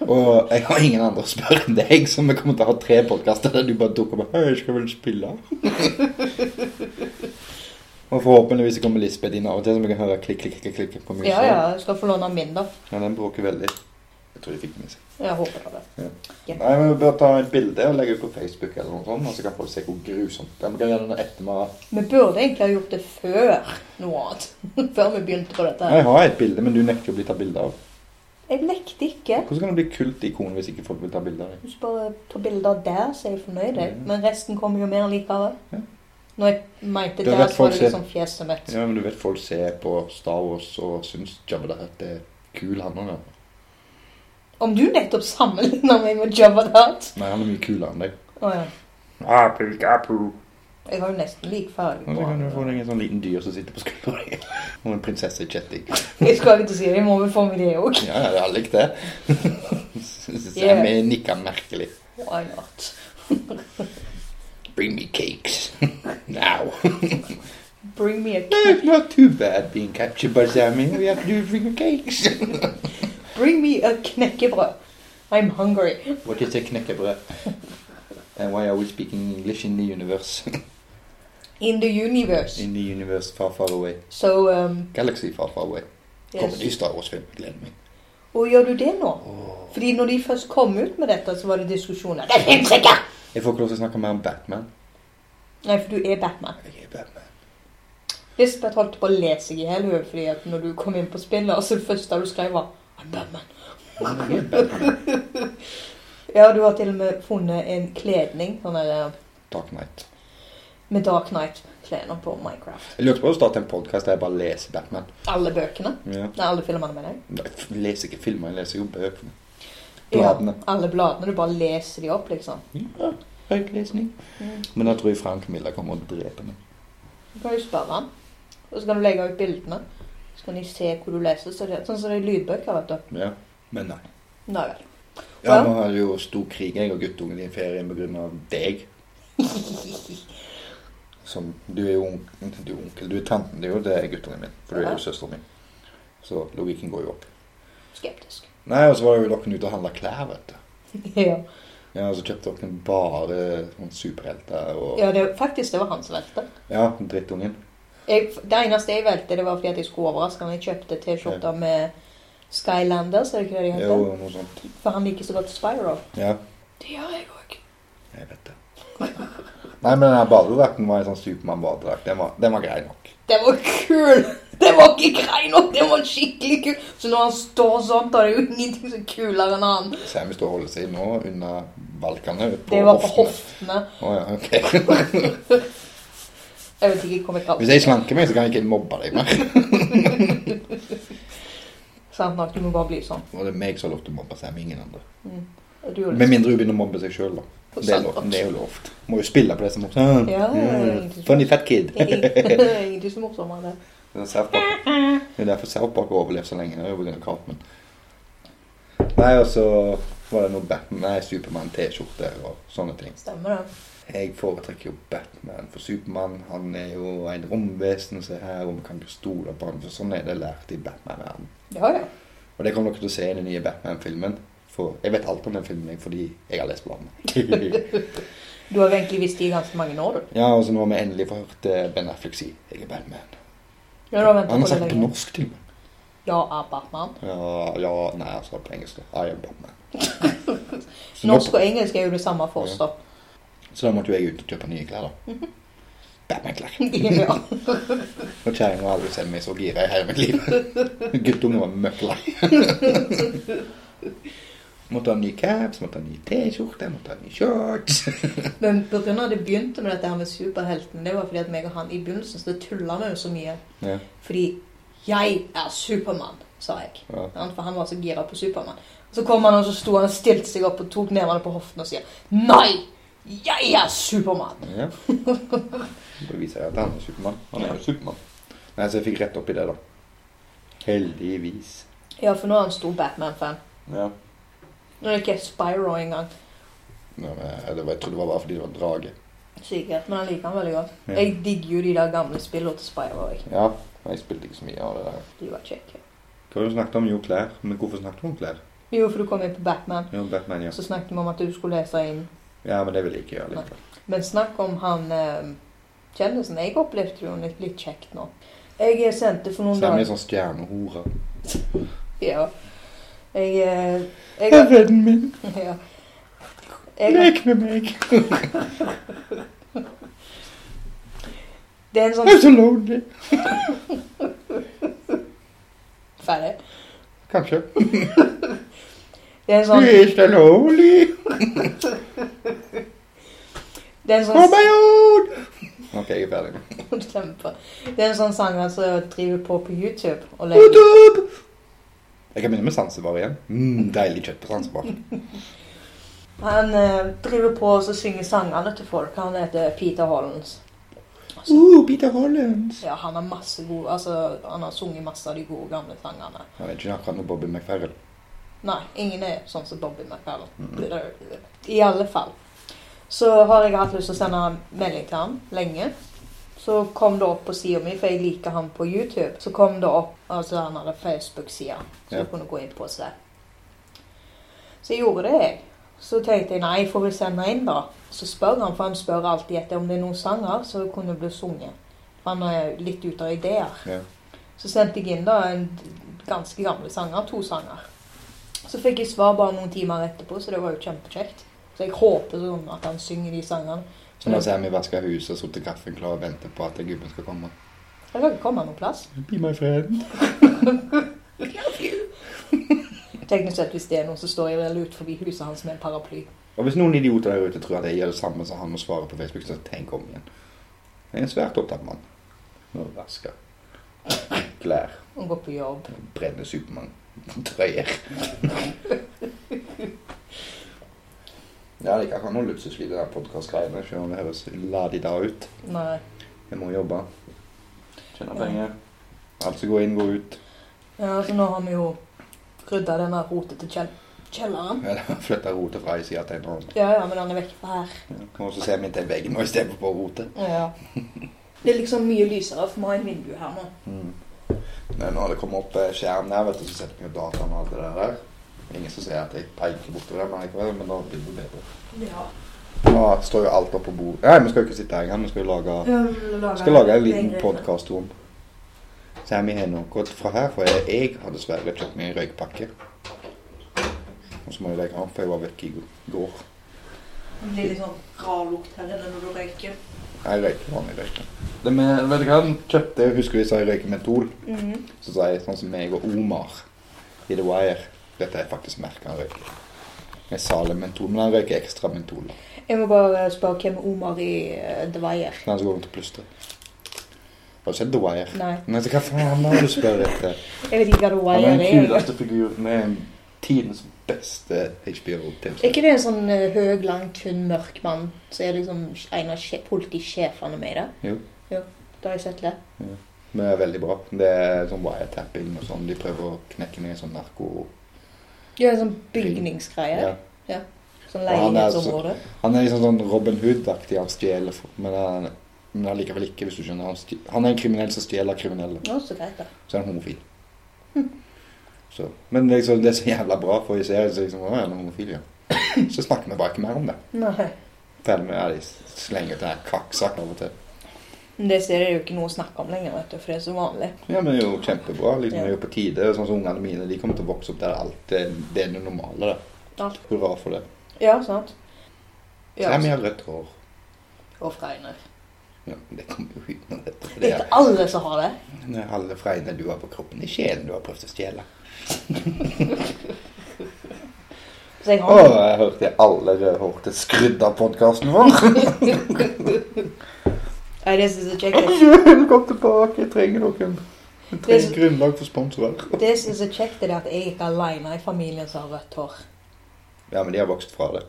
Speaker 1: Og jeg har ingen andre å spørre enn deg, så vi kommer til å ha tre podkaster der du bare dukker opp. Hei, skal vel spille? Og forhåpentligvis så kommer Lisbeth inn av og til, så vi kan høre klikk, klikk, klikk, klikk på musa.
Speaker 2: Ja, ja. Jeg skal få låne min, da.
Speaker 1: ja, den bråker veldig. Jeg tror de fikk den med seg.
Speaker 2: Jeg håper det.
Speaker 1: Nei, men Vi bør ta et bilde og legge ut på Facebook, eller noe sånt, og så kan folk se hvor grusomt det er. Vi kan gjøre det når etter vi har
Speaker 2: Vi burde egentlig ha gjort det før noe annet. Før vi begynte på dette. her.
Speaker 1: Jeg har et bilde, men du nekter å bli tatt bilde av.
Speaker 2: Jeg nekter ikke.
Speaker 1: Hvordan kan du bli kult ikon hvis ikke folk vil ta bilde av deg?
Speaker 2: Hvis du bare tar bilder der, så er jeg fornøyd. jeg.
Speaker 1: Ja.
Speaker 2: Men resten kommer jo mer likevel.
Speaker 1: Ja.
Speaker 2: Når jeg mente
Speaker 1: Du
Speaker 2: der,
Speaker 1: vet
Speaker 2: så var
Speaker 1: folk
Speaker 2: det
Speaker 1: ser-
Speaker 2: liksom fjeset mitt.
Speaker 1: Ja, men du vet folk ser på Star Wars og syns Jabba the Hutt er kul, han òg.
Speaker 2: Om du nettopp sammenligner meg med Jabba the Hutt?
Speaker 1: Nei, han er mye kulere enn deg.
Speaker 2: Å ja.
Speaker 1: Apu, apu.
Speaker 2: Jeg har jo nesten lik farge
Speaker 1: Og så
Speaker 2: på
Speaker 1: kan du få
Speaker 2: han.
Speaker 1: deg en sånn liten dyr som sitter på skuldra di. Og en prinsesse i kjetting.
Speaker 2: Jeg skal ikke til å si det. Jeg må vel få med det òg.
Speaker 1: Ja, ja, jeg har likt det. Sam
Speaker 2: Yeah.
Speaker 1: nikker merkelig.
Speaker 2: Why not?
Speaker 1: Bring me cakes. Now.
Speaker 2: Bring me a cake.
Speaker 1: It's not too bad being captured by Sammy. We have to do bring cakes.
Speaker 2: Bring me a knekkebrød. I'm hungry.
Speaker 1: What is a knekkebrød? And why are we speaking English in the universe?
Speaker 2: In the universe.
Speaker 1: In the universe far, far away.
Speaker 2: So um,
Speaker 1: Galaxy far, far away. Kommer ny
Speaker 2: yes.
Speaker 1: Star Wars-film. Gleder meg.
Speaker 2: Og gjør du det nå? Fordi når de først kom ut med dette, så var det diskusjoner. Det fins ikke!
Speaker 1: Jeg får ikke lov til å snakke mer om Batman.
Speaker 2: Nei, for du er Batman.
Speaker 1: Jeg er Batman.
Speaker 2: Lisbeth holdt på å le seg i hjel hun, fordi at når du kom inn på spillet, så det første du skrev, var I'm Batman.
Speaker 1: Jeg er Batman.
Speaker 2: Ja, du har til og med funnet en kledning sånn der,
Speaker 1: Dark Knight.
Speaker 2: med Dark Knight-klærne på Minecraft.
Speaker 1: Jeg lurte på å starte en podkast der jeg bare leser Batman.
Speaker 2: Alle bøkene.
Speaker 1: Ja.
Speaker 2: Nei, alle filmene, mener jeg.
Speaker 1: Nei, Jeg leser ikke filmer, jeg leser jo bøkene.
Speaker 2: Ja,
Speaker 1: Bladene.
Speaker 2: alle bladene. Du bare leser de opp, liksom.
Speaker 1: Ja, Høytlesning. Men da tror jeg Frank Miller kommer og dreper meg.
Speaker 2: Du kan jo spørre han. Og så kan du legge ut bildene. Så kan de se hvor du leser. Så det, sånn som det er lydbøker, vet du.
Speaker 1: Ja. Men nei.
Speaker 2: Nei vel.
Speaker 1: Ja,
Speaker 2: Ja.
Speaker 1: nå er det jo stor krig jeg og guttungen i ferien på grunn av deg. Som, du er jo onkel, du er, onkel, du er tanten, det er jo det er guttungen min, for du er
Speaker 2: Ja.
Speaker 1: jo søsteren min. Så logikken går jo opp.
Speaker 2: Skeptisk.
Speaker 1: Nei, og så var jo dere ute og handla klær, vet du.
Speaker 2: Ja.
Speaker 1: Ja, og så kjøpte dere bare sånn superhelter og
Speaker 2: ja, det, faktisk, det var han som valgte.
Speaker 1: Ja, drittungen.
Speaker 2: Jeg, det eneste jeg valgte, det var fordi at jeg skulle overraske ham. Jeg kjøpte T-skjorter med Skylanders, er det ikke det de
Speaker 1: Jo,
Speaker 2: heter?
Speaker 1: noe sånt.
Speaker 2: For han liker så godt Spyro.
Speaker 1: Ja,
Speaker 2: Det gjør jeg òg.
Speaker 1: jeg vet det. Nei, men den her badedrakten var en sånn Supermann-badedrakt. Den, var- den var grei nok.
Speaker 2: Den var kul! Den var ikke grei nok! Den var skikkelig kul! Så når han står sånn, da er det jo ingenting som er kulere enn han.
Speaker 1: Sammy står og holder seg nå under valkene på
Speaker 2: Det var på
Speaker 1: hoftene.
Speaker 2: hoftene.
Speaker 1: Å ja, ok.
Speaker 2: Jeg vet ikke hvor jeg
Speaker 1: Hvis jeg slanker meg, så kan jeg ikke mobbe deg mer.
Speaker 2: Sant nok, du må bare bli sånn. Mm.
Speaker 1: Og det er meg som har lov til å mobbe Sam, ingen andre.
Speaker 2: Du gjorde
Speaker 1: Med mindre hun begynner å mobbe seg sjøl, da. Det er, lov, det er jo lov. Må jo spille på det som morsomt.
Speaker 2: Ja,
Speaker 1: Mm, Funny fat kid.
Speaker 2: Det er ingenting så morsommere enn det.
Speaker 1: Det er South Park- det er derfor South Park har overlevd så lenge. Det er jo på grunn av Cartman. Nei, og så var det noe Batman Nei, Supermann-T-skjorter og sånne ting.
Speaker 2: Stemmer det.
Speaker 1: Jeg foretrekker jo Batman, for Supermann han er jo en romvesen som er her, og vi kan ikke stole på han, for sånn er det lært i Batman-verden.
Speaker 2: Ja, ja.
Speaker 1: Og det kommer dere til å se i den nye Batman-filmen. For jeg vet alt om den filmen jeg, fordi jeg har lest bladene.
Speaker 2: Du har jo egentlig visst det i ganske mange år, du.
Speaker 1: ja, og så nå har vi endelig fått hørt eh, Ben Affleck si 'Jeg er Batman'.
Speaker 2: Ja, du har ventet
Speaker 1: Han har
Speaker 2: på det
Speaker 1: sagt det på
Speaker 2: lenge.
Speaker 1: norsk til og med.
Speaker 2: Ja, er Batman.
Speaker 1: Ja, ja, nei, altså på engelsk. da. I am Batman. Så, nå,
Speaker 2: Norsk og engelsk er jo det samme for oss, da.
Speaker 1: så da måtte jo jeg ut og kjøpe nye klær, da. Batman-klær.
Speaker 2: Mhm. Ja.
Speaker 1: Og kjerringa har aldri sett meg så gira i hele mitt liv. Guttungen var møkklei. måtte ha ny caps, måtte ha ny T-skjorte, måtte ha ny shorts.
Speaker 2: Men på grunn av at det begynte med dette her med superhelten, det var fordi at meg og han i begynnelsen så det tulla vi jo så mye.
Speaker 1: ja,
Speaker 2: Fordi 'jeg er Supermann', sa jeg.
Speaker 1: ja.
Speaker 2: Ja, For han var så gira på Supermann. Så kom han og så sto han og stilte seg opp og tok nevene på hoften og sier 'Nei! Jeg er Supermann!'
Speaker 1: Ja. Da viser jeg at han er Supermann. Han er jo Supermann. Nei, så jeg fikk rett opp i det, da. Heldigvis.
Speaker 2: Ja, for nå er han stor Batman-fan.
Speaker 1: Ja.
Speaker 2: Nå er det ikke Spyro engang,
Speaker 1: men jeg, det var, jeg trodde det var bare fordi det var en drage.
Speaker 2: sikkert. Men han liker han veldig godt.
Speaker 1: Ja.
Speaker 2: Jeg digger jo de der gamle spillene til Spyro. Jeg.
Speaker 1: Ja, jeg spilte ikke så mye av det der.
Speaker 2: De var kjekke.
Speaker 1: Hva var det du snakket om? Jo, klær. Men hvorfor snakket du om klær?
Speaker 2: Jo, for du kom inn på Batman.
Speaker 1: Jo, Batman, ja.
Speaker 2: Så snakket vi om at du skulle lese inn
Speaker 1: Ja, men det vil jeg ikke gjøre liksom. likevel.
Speaker 2: Men snakk om han eh, kjendisen. Jeg opplevde det jo litt, litt kjekt nå. Jeg sendte for noen
Speaker 1: Så er vi
Speaker 2: dager
Speaker 1: sånn stjernehore.
Speaker 2: ja. Jeg, eh,
Speaker 1: Jeg
Speaker 2: jeg,
Speaker 1: er vennen min.
Speaker 2: ja. jeg,
Speaker 1: Lek med meg.
Speaker 2: Det er
Speaker 1: Jeg
Speaker 2: en
Speaker 1: er
Speaker 2: sånn
Speaker 1: så lonely.
Speaker 2: Ferdig.
Speaker 1: Kanskje.
Speaker 2: Det er en
Speaker 1: Du
Speaker 2: sånn,
Speaker 1: er så lonely.
Speaker 2: det er en
Speaker 1: Oh
Speaker 2: sånn,
Speaker 1: my god. Ok, jeg er ferdig.
Speaker 2: Kjempe. det er en sånn sanger som driver på på YouTube og legger
Speaker 1: Hodop! Jeg kan begynne med Sansebar igjen. Mm, deilig kjøtt på Sansebar.
Speaker 2: Han eh, driver på og så synger sangene til folk. Han heter Peter Hollens.
Speaker 1: Uh, Peter Hollins.
Speaker 2: Ja, han har masse gode Altså, han har sunget masse av de gode, gamle sangene.
Speaker 1: Jeg vet ikke akkurat noe Bobby McFerrell. Mm.
Speaker 2: Nei, ingen er sånn som Bobby McFarland. I alle fall. Så har jeg hatt lyst til å sende en melding til han lenge. Så kom det opp på sida mi, for jeg liker han på YouTube. Så kom det opp altså han hadde Facebook-sida, så
Speaker 1: Ja.
Speaker 2: jeg kunne gå inn på og se. Så jeg gjorde det, jeg. Så tenkte jeg nei, jeg får vel sende inn, da. Så spør han, for han spør alltid etter om det er noen sanger som kunne bli sunget. For han er litt ute av ideer.
Speaker 1: Ja.
Speaker 2: Så sendte jeg inn da en ganske gamle sanger, to sanger. Så fikk jeg svar bare noen timer etterpå, så det var jo kjempekjekt. Så jeg håper sånn at han synger de sangene.
Speaker 1: Så nå ser vi vaske huset og sotte kaffen klar og venter på at gubben skal komme.
Speaker 2: Jeg kan ikke komme noen plass.
Speaker 1: Be my friend.
Speaker 2: Teknisk sett hvis det er noen som står i vel ut forbi huset hans med en paraply.
Speaker 1: Og hvis noen idioter der ute tror at jeg gjør det samme som han og svarer på Facebook, så tenk om igjen. Jeg er en svært opptatt mann. Nå vasker. Klær.
Speaker 2: Og går på jobb.
Speaker 1: Brenner Supermann. Trøyer. Ja, det er ikke akkurat noe luksusliv, det der podkast-greiene. Selv om det høres la-di-da ut.
Speaker 2: Nei.
Speaker 1: Jeg må jobbe. Tjene
Speaker 2: Ja.
Speaker 1: penger. Alt som går inn, går ut.
Speaker 2: Ja, så nå har vi jo rydda denne rotete kjell kjelleren.
Speaker 1: Ja, da flytter jeg rotet fra ei side til en annen.
Speaker 2: Ja, ja, men han er vekk fra her.
Speaker 1: Ja, Og så ser vi inntil veggen nå istedenfor på rotet.
Speaker 2: Ja. Det er liksom mye lysere, for vi har en vindu her nå.
Speaker 1: Mm. Men når det kommer opp eh, skjerm der, vet du, så setter vi jo dataen og alt det der. Ingen som ser at jeg peker bortover, men likevel, men da blir det bedre.
Speaker 2: Ja.
Speaker 1: Nå står jo alt oppe på bordet. Nei, vi skal jo ikke sitte her engang. Vi skal jo lage
Speaker 2: Vi
Speaker 1: skal lage en liten podkast om Så her vi har noe gått fra her, for jeg, jeg har dessverre kjøpt meg en røykpakke. Og så må jeg legge den, for jeg var vekke i g- går.
Speaker 2: Det blir litt sånn rar lukt her inne når du røyker.
Speaker 1: Jeg røyker vanlig røyk. Det med, vet du hva han kjøpte? Jeg husker vi sa jeg røyker mentol.
Speaker 2: Mhm.
Speaker 1: Så sa jeg sånn som meg og Omar i The Wire. Dette er faktisk merket han røyker. Jeg saler mentol, men han røyker ekstra mentol.
Speaker 2: Jeg må bare spørre hvem Omar i eh, The Wire.
Speaker 1: Han som går rundt og plystrer. Har du sett The Wire?
Speaker 2: Nei,
Speaker 1: Men hva faen er det du spør etter?
Speaker 2: jeg vet ikke hva The
Speaker 1: Han
Speaker 2: Wire
Speaker 1: er
Speaker 2: er.
Speaker 1: den kuleste figuren. er tidens beste HBO-TV.
Speaker 2: Er ikke det en sånn eh, høy, lang, tynn, mørk mann som er liksom en av sje- politisjefene med det?
Speaker 1: Jo.
Speaker 2: jo. Da har jeg sett det.
Speaker 1: Men det er veldig bra. Det er sånn wiretapping og sånn. De prøver å knekke ned sånn narko...
Speaker 2: Det er en sånn bygningsgreie.
Speaker 1: Ja.
Speaker 2: Sånn
Speaker 1: Og han er altså- så-
Speaker 2: leilighetsområde.
Speaker 1: Han er liksom sånn Robin Hood-aktig. Han stjeler, for- men, han, men han likevel ikke, hvis du skjønner. Han, stj- han er en kriminell som stjeler kriminelle.
Speaker 2: Å, så greit, da.
Speaker 1: Så er han homofil. Så. Men liksom, det er så jævla bra, for i serien så liksom, å, er han homofil, ja. Så snakker vi bare ikke mer om det.
Speaker 2: Nei.
Speaker 1: Ferdig med ja, de slenger til her kakksak av og til.
Speaker 2: Men det ser jeg jo ikke noe å snakke om lenger, vet du, for det er så vanlig.
Speaker 1: Ja, men det er jo kjempebra. Liksom, Det er jo på tide. Sånn som ungene mine, de kommer til å vokse opp der alt det, det er det normale. Da.
Speaker 2: Alt.
Speaker 1: Hurra for det.
Speaker 2: Ja, sant?
Speaker 1: Så
Speaker 2: Ja, altså.
Speaker 1: er vi har rødt hår.
Speaker 2: og Freiner.
Speaker 1: Ja, men det kommer jo ut når dette.
Speaker 2: Det
Speaker 1: Det
Speaker 2: er
Speaker 1: er
Speaker 2: ikke alle som har det.
Speaker 1: det er alle fregnene du har på kroppen, i sjelen du har prøvd å stjele.
Speaker 2: Så jeg
Speaker 1: Å,
Speaker 2: har
Speaker 1: jeg hørte alle rødhårte skrudd av podkasten vår.
Speaker 2: Nei, det synes jeg ikke er kjekt.
Speaker 1: Kom tilbake, jeg trenger noen. Jeg trenger grunnlag for sponsorer.
Speaker 2: Det jeg synes er kjekt, er det at jeg ikke er alene i familien som har rødt hår.
Speaker 1: Ja, men de har vokst fra det.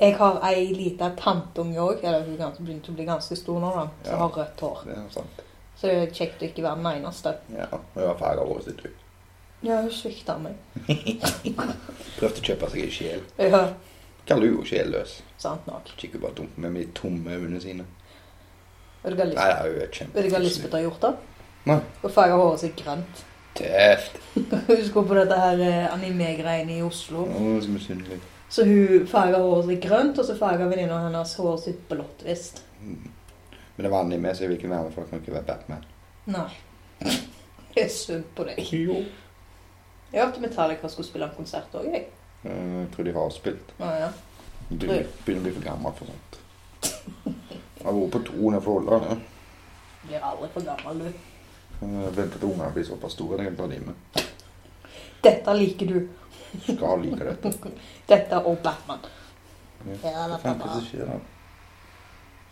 Speaker 2: Jeg har ei lita tanteunge òg, eller hun kan- begynte å bli ganske stor nå, da, som
Speaker 1: Ja.
Speaker 2: har rødt hår.
Speaker 1: Det er sant.
Speaker 2: Så det er kjekt å ikke være den eneste.
Speaker 1: Ja, og jeg var ferdig av året sitt. du.
Speaker 2: Ja, hun svikta meg.
Speaker 1: Prøvde å kjøpe seg en sjel.
Speaker 2: Ja,
Speaker 1: Kaller du jo sjelløs.
Speaker 2: sant nok.
Speaker 1: Kikker bare dumt med de tomme øynene sine.
Speaker 2: Vet du hva Lisbeth-
Speaker 1: Nei, det er jo et kjempe...
Speaker 2: vet du hva Lisbeth har gjort, da?
Speaker 1: Nei.
Speaker 2: Hun farga håret sitt grønt.
Speaker 1: Tøft.
Speaker 2: Hun skulle på dette her eh, anime-greiene i Oslo.
Speaker 1: Å, så misunnelig.
Speaker 2: Så hun farga håret sitt grønt, og så farga venninna hennes håret sitt blått, visst.
Speaker 1: Mm. Men det er vanlig med, så jeg vil ikke være med, for jeg kan ikke være Batman.
Speaker 2: Nei. Jeg er synd på deg.
Speaker 1: Jo.
Speaker 2: Jeg hørte Metallica skulle spille en konsert òg, jeg.
Speaker 1: Eh, Jeg tror de har avspilt.
Speaker 2: Å, ja.
Speaker 1: Du begynner å bli for gammel for sånt. Jeg har vært på to når jeg får holde det.
Speaker 2: Blir aldri for gammel, du.
Speaker 1: Jeg Venter til ungene blir såpass store, det kan jeg ta de med.
Speaker 2: Dette liker du.
Speaker 1: Skal like dette.
Speaker 2: Dette og Batman.
Speaker 1: Ja. Hva
Speaker 2: Ja da,
Speaker 1: faen er det
Speaker 2: pappa.
Speaker 1: som skjer da?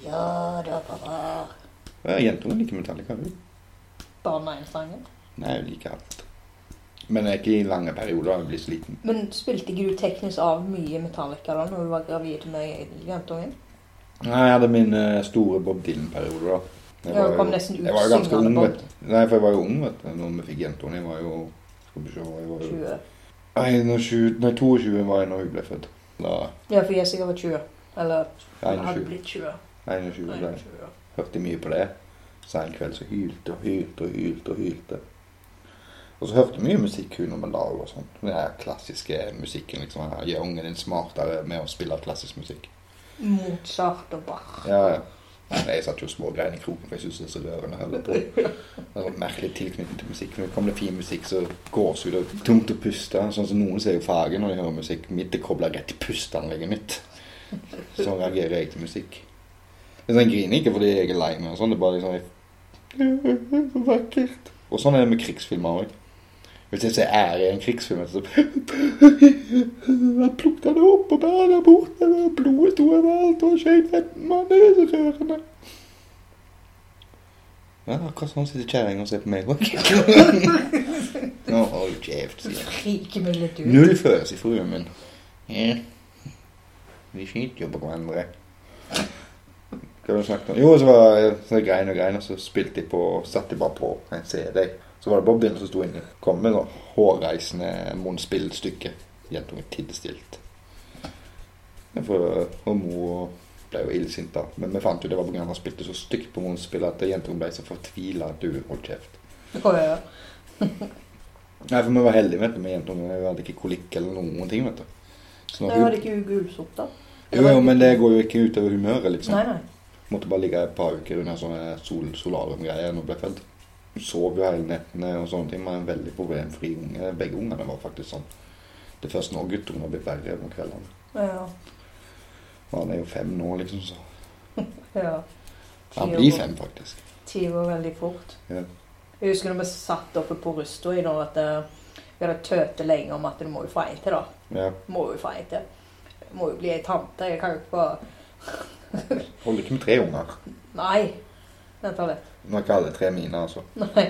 Speaker 2: Ja da, pappa.
Speaker 1: Ja, Jentungen liker Metallica, hun.
Speaker 2: Bare Nine-sangen.
Speaker 1: Nei, hun liker alt. Men det er ikke i lange perioder jeg blir sliten.
Speaker 2: Men spilte ikke du teknisk av mye Metallica da når du var gravid med jentungen?
Speaker 1: Nei, jeg hadde min eh, store Bob Dylan-periode da. Jeg
Speaker 2: Ja,
Speaker 1: var
Speaker 2: det kom
Speaker 1: jo-
Speaker 2: nesten ut
Speaker 1: Jeg var jo ganske
Speaker 2: syngende
Speaker 1: ung,
Speaker 2: Bob.
Speaker 1: vet du. Nei, for jeg var jo ung, vet du. Når vi fikk jentene, jeg var jo Skal vi se jeg var jo
Speaker 2: 20.
Speaker 1: 21, Nei, 22 var jeg når hun ble født. Da
Speaker 2: Ja, for Jessica var 20. Eller hun hadde
Speaker 1: 21.
Speaker 2: blitt 20.
Speaker 1: 21
Speaker 2: Nei,
Speaker 1: ble jeg.
Speaker 2: 20.
Speaker 1: Hørte mye på det. Så en kveld så hylte og hylte og hylte og hylte. Og så hørte vi mye musikk hun og Malal og sånn. Den her klassiske musikken, liksom. her, Gjør ungen din smartere med å spille klassisk musikk.
Speaker 2: Mozart og Bach.
Speaker 1: Ja, ja. Nei, Jeg satt jo smågrein i kroken, for jeg syntes det er så rørende å høre på. Det var en merkelig tilknytning til musikk. For når det kommer det fin musikk, så gåsehud og tungt å puste. Sånn som noen ser jo faget når de hører musikk. Mitt er kobla rett til pusteanlegget mitt. Sånn reagerer jeg til musikk. Men sånn, jeg griner ikke fordi jeg er lei meg og sånn. Det er bare liksom jeg... Så vakkert. Og sånn er det med krigsfilmer òg. Hvis jeg ser ære i en krigsfilm, så Han plukket det opp og bærer det bort. Det var blodet sto overalt, og skjøt fetten mann. Det er så rørende. Ja, akkurat sånn sitter kjerringa og ser på meg òg. Nå hold kjeft, sier jeg.
Speaker 2: Friker meg litt ut.
Speaker 1: Null følelse i fruen min. Ja. Vi skyter jo på hverandre. Hva var det du snakket om? Jo, så var jeg sånn grein og grein, og så spilte de på, satte de bare på en CD. Så var det Bob Dylan som sto inni. Kom med sånn hårreisende munnspillstykke. jentungen tidsstilt. Ja, For, og mor ble jo illsint, da. Men vi fant jo det var pga. han spilte så stygt på morens spill at jentungen ble så fortvila at du holdt kjeft.
Speaker 2: Å, ja.
Speaker 1: Nei, for vi var heldige vet du, med jentungen. Hun hadde ikke kolikk eller noen ting. vet du. Så
Speaker 2: Nei,
Speaker 1: når
Speaker 2: Jeg hadde
Speaker 1: hun,
Speaker 2: ikke gulsott da.
Speaker 1: jo, jo, men det går jo ikke utover humøret, liksom.
Speaker 2: Nei, nei.
Speaker 1: Måtte bare ligge et par uker under sånne sol solariumgreier når hun ble født. Hun sov jo hele nettene og sånne ting. Var en veldig problemfri unge. Begge ungene var faktisk sånn. Det er først nå guttungen har blitt verre om kveldene.
Speaker 2: Ja,
Speaker 1: Og Han er jo fem nå, liksom. så
Speaker 2: ja.
Speaker 1: Han
Speaker 2: Tida
Speaker 1: blir
Speaker 2: går-
Speaker 1: fem, faktisk.
Speaker 2: Tida går veldig fort.
Speaker 1: Ja.
Speaker 2: Jeg husker når vi satt oppe på Rusta i dag at eh, vi hadde tøte lenge om at du må jo få ei til, da.
Speaker 1: Ja.
Speaker 2: Må jo få ei til. Må jo bli ei tante. Jeg kan jo ikke bare
Speaker 1: Holder ikke med tre unger.
Speaker 2: Nei. Vent da litt.
Speaker 1: Nå er ikke alle tre mine, altså.
Speaker 2: Nei.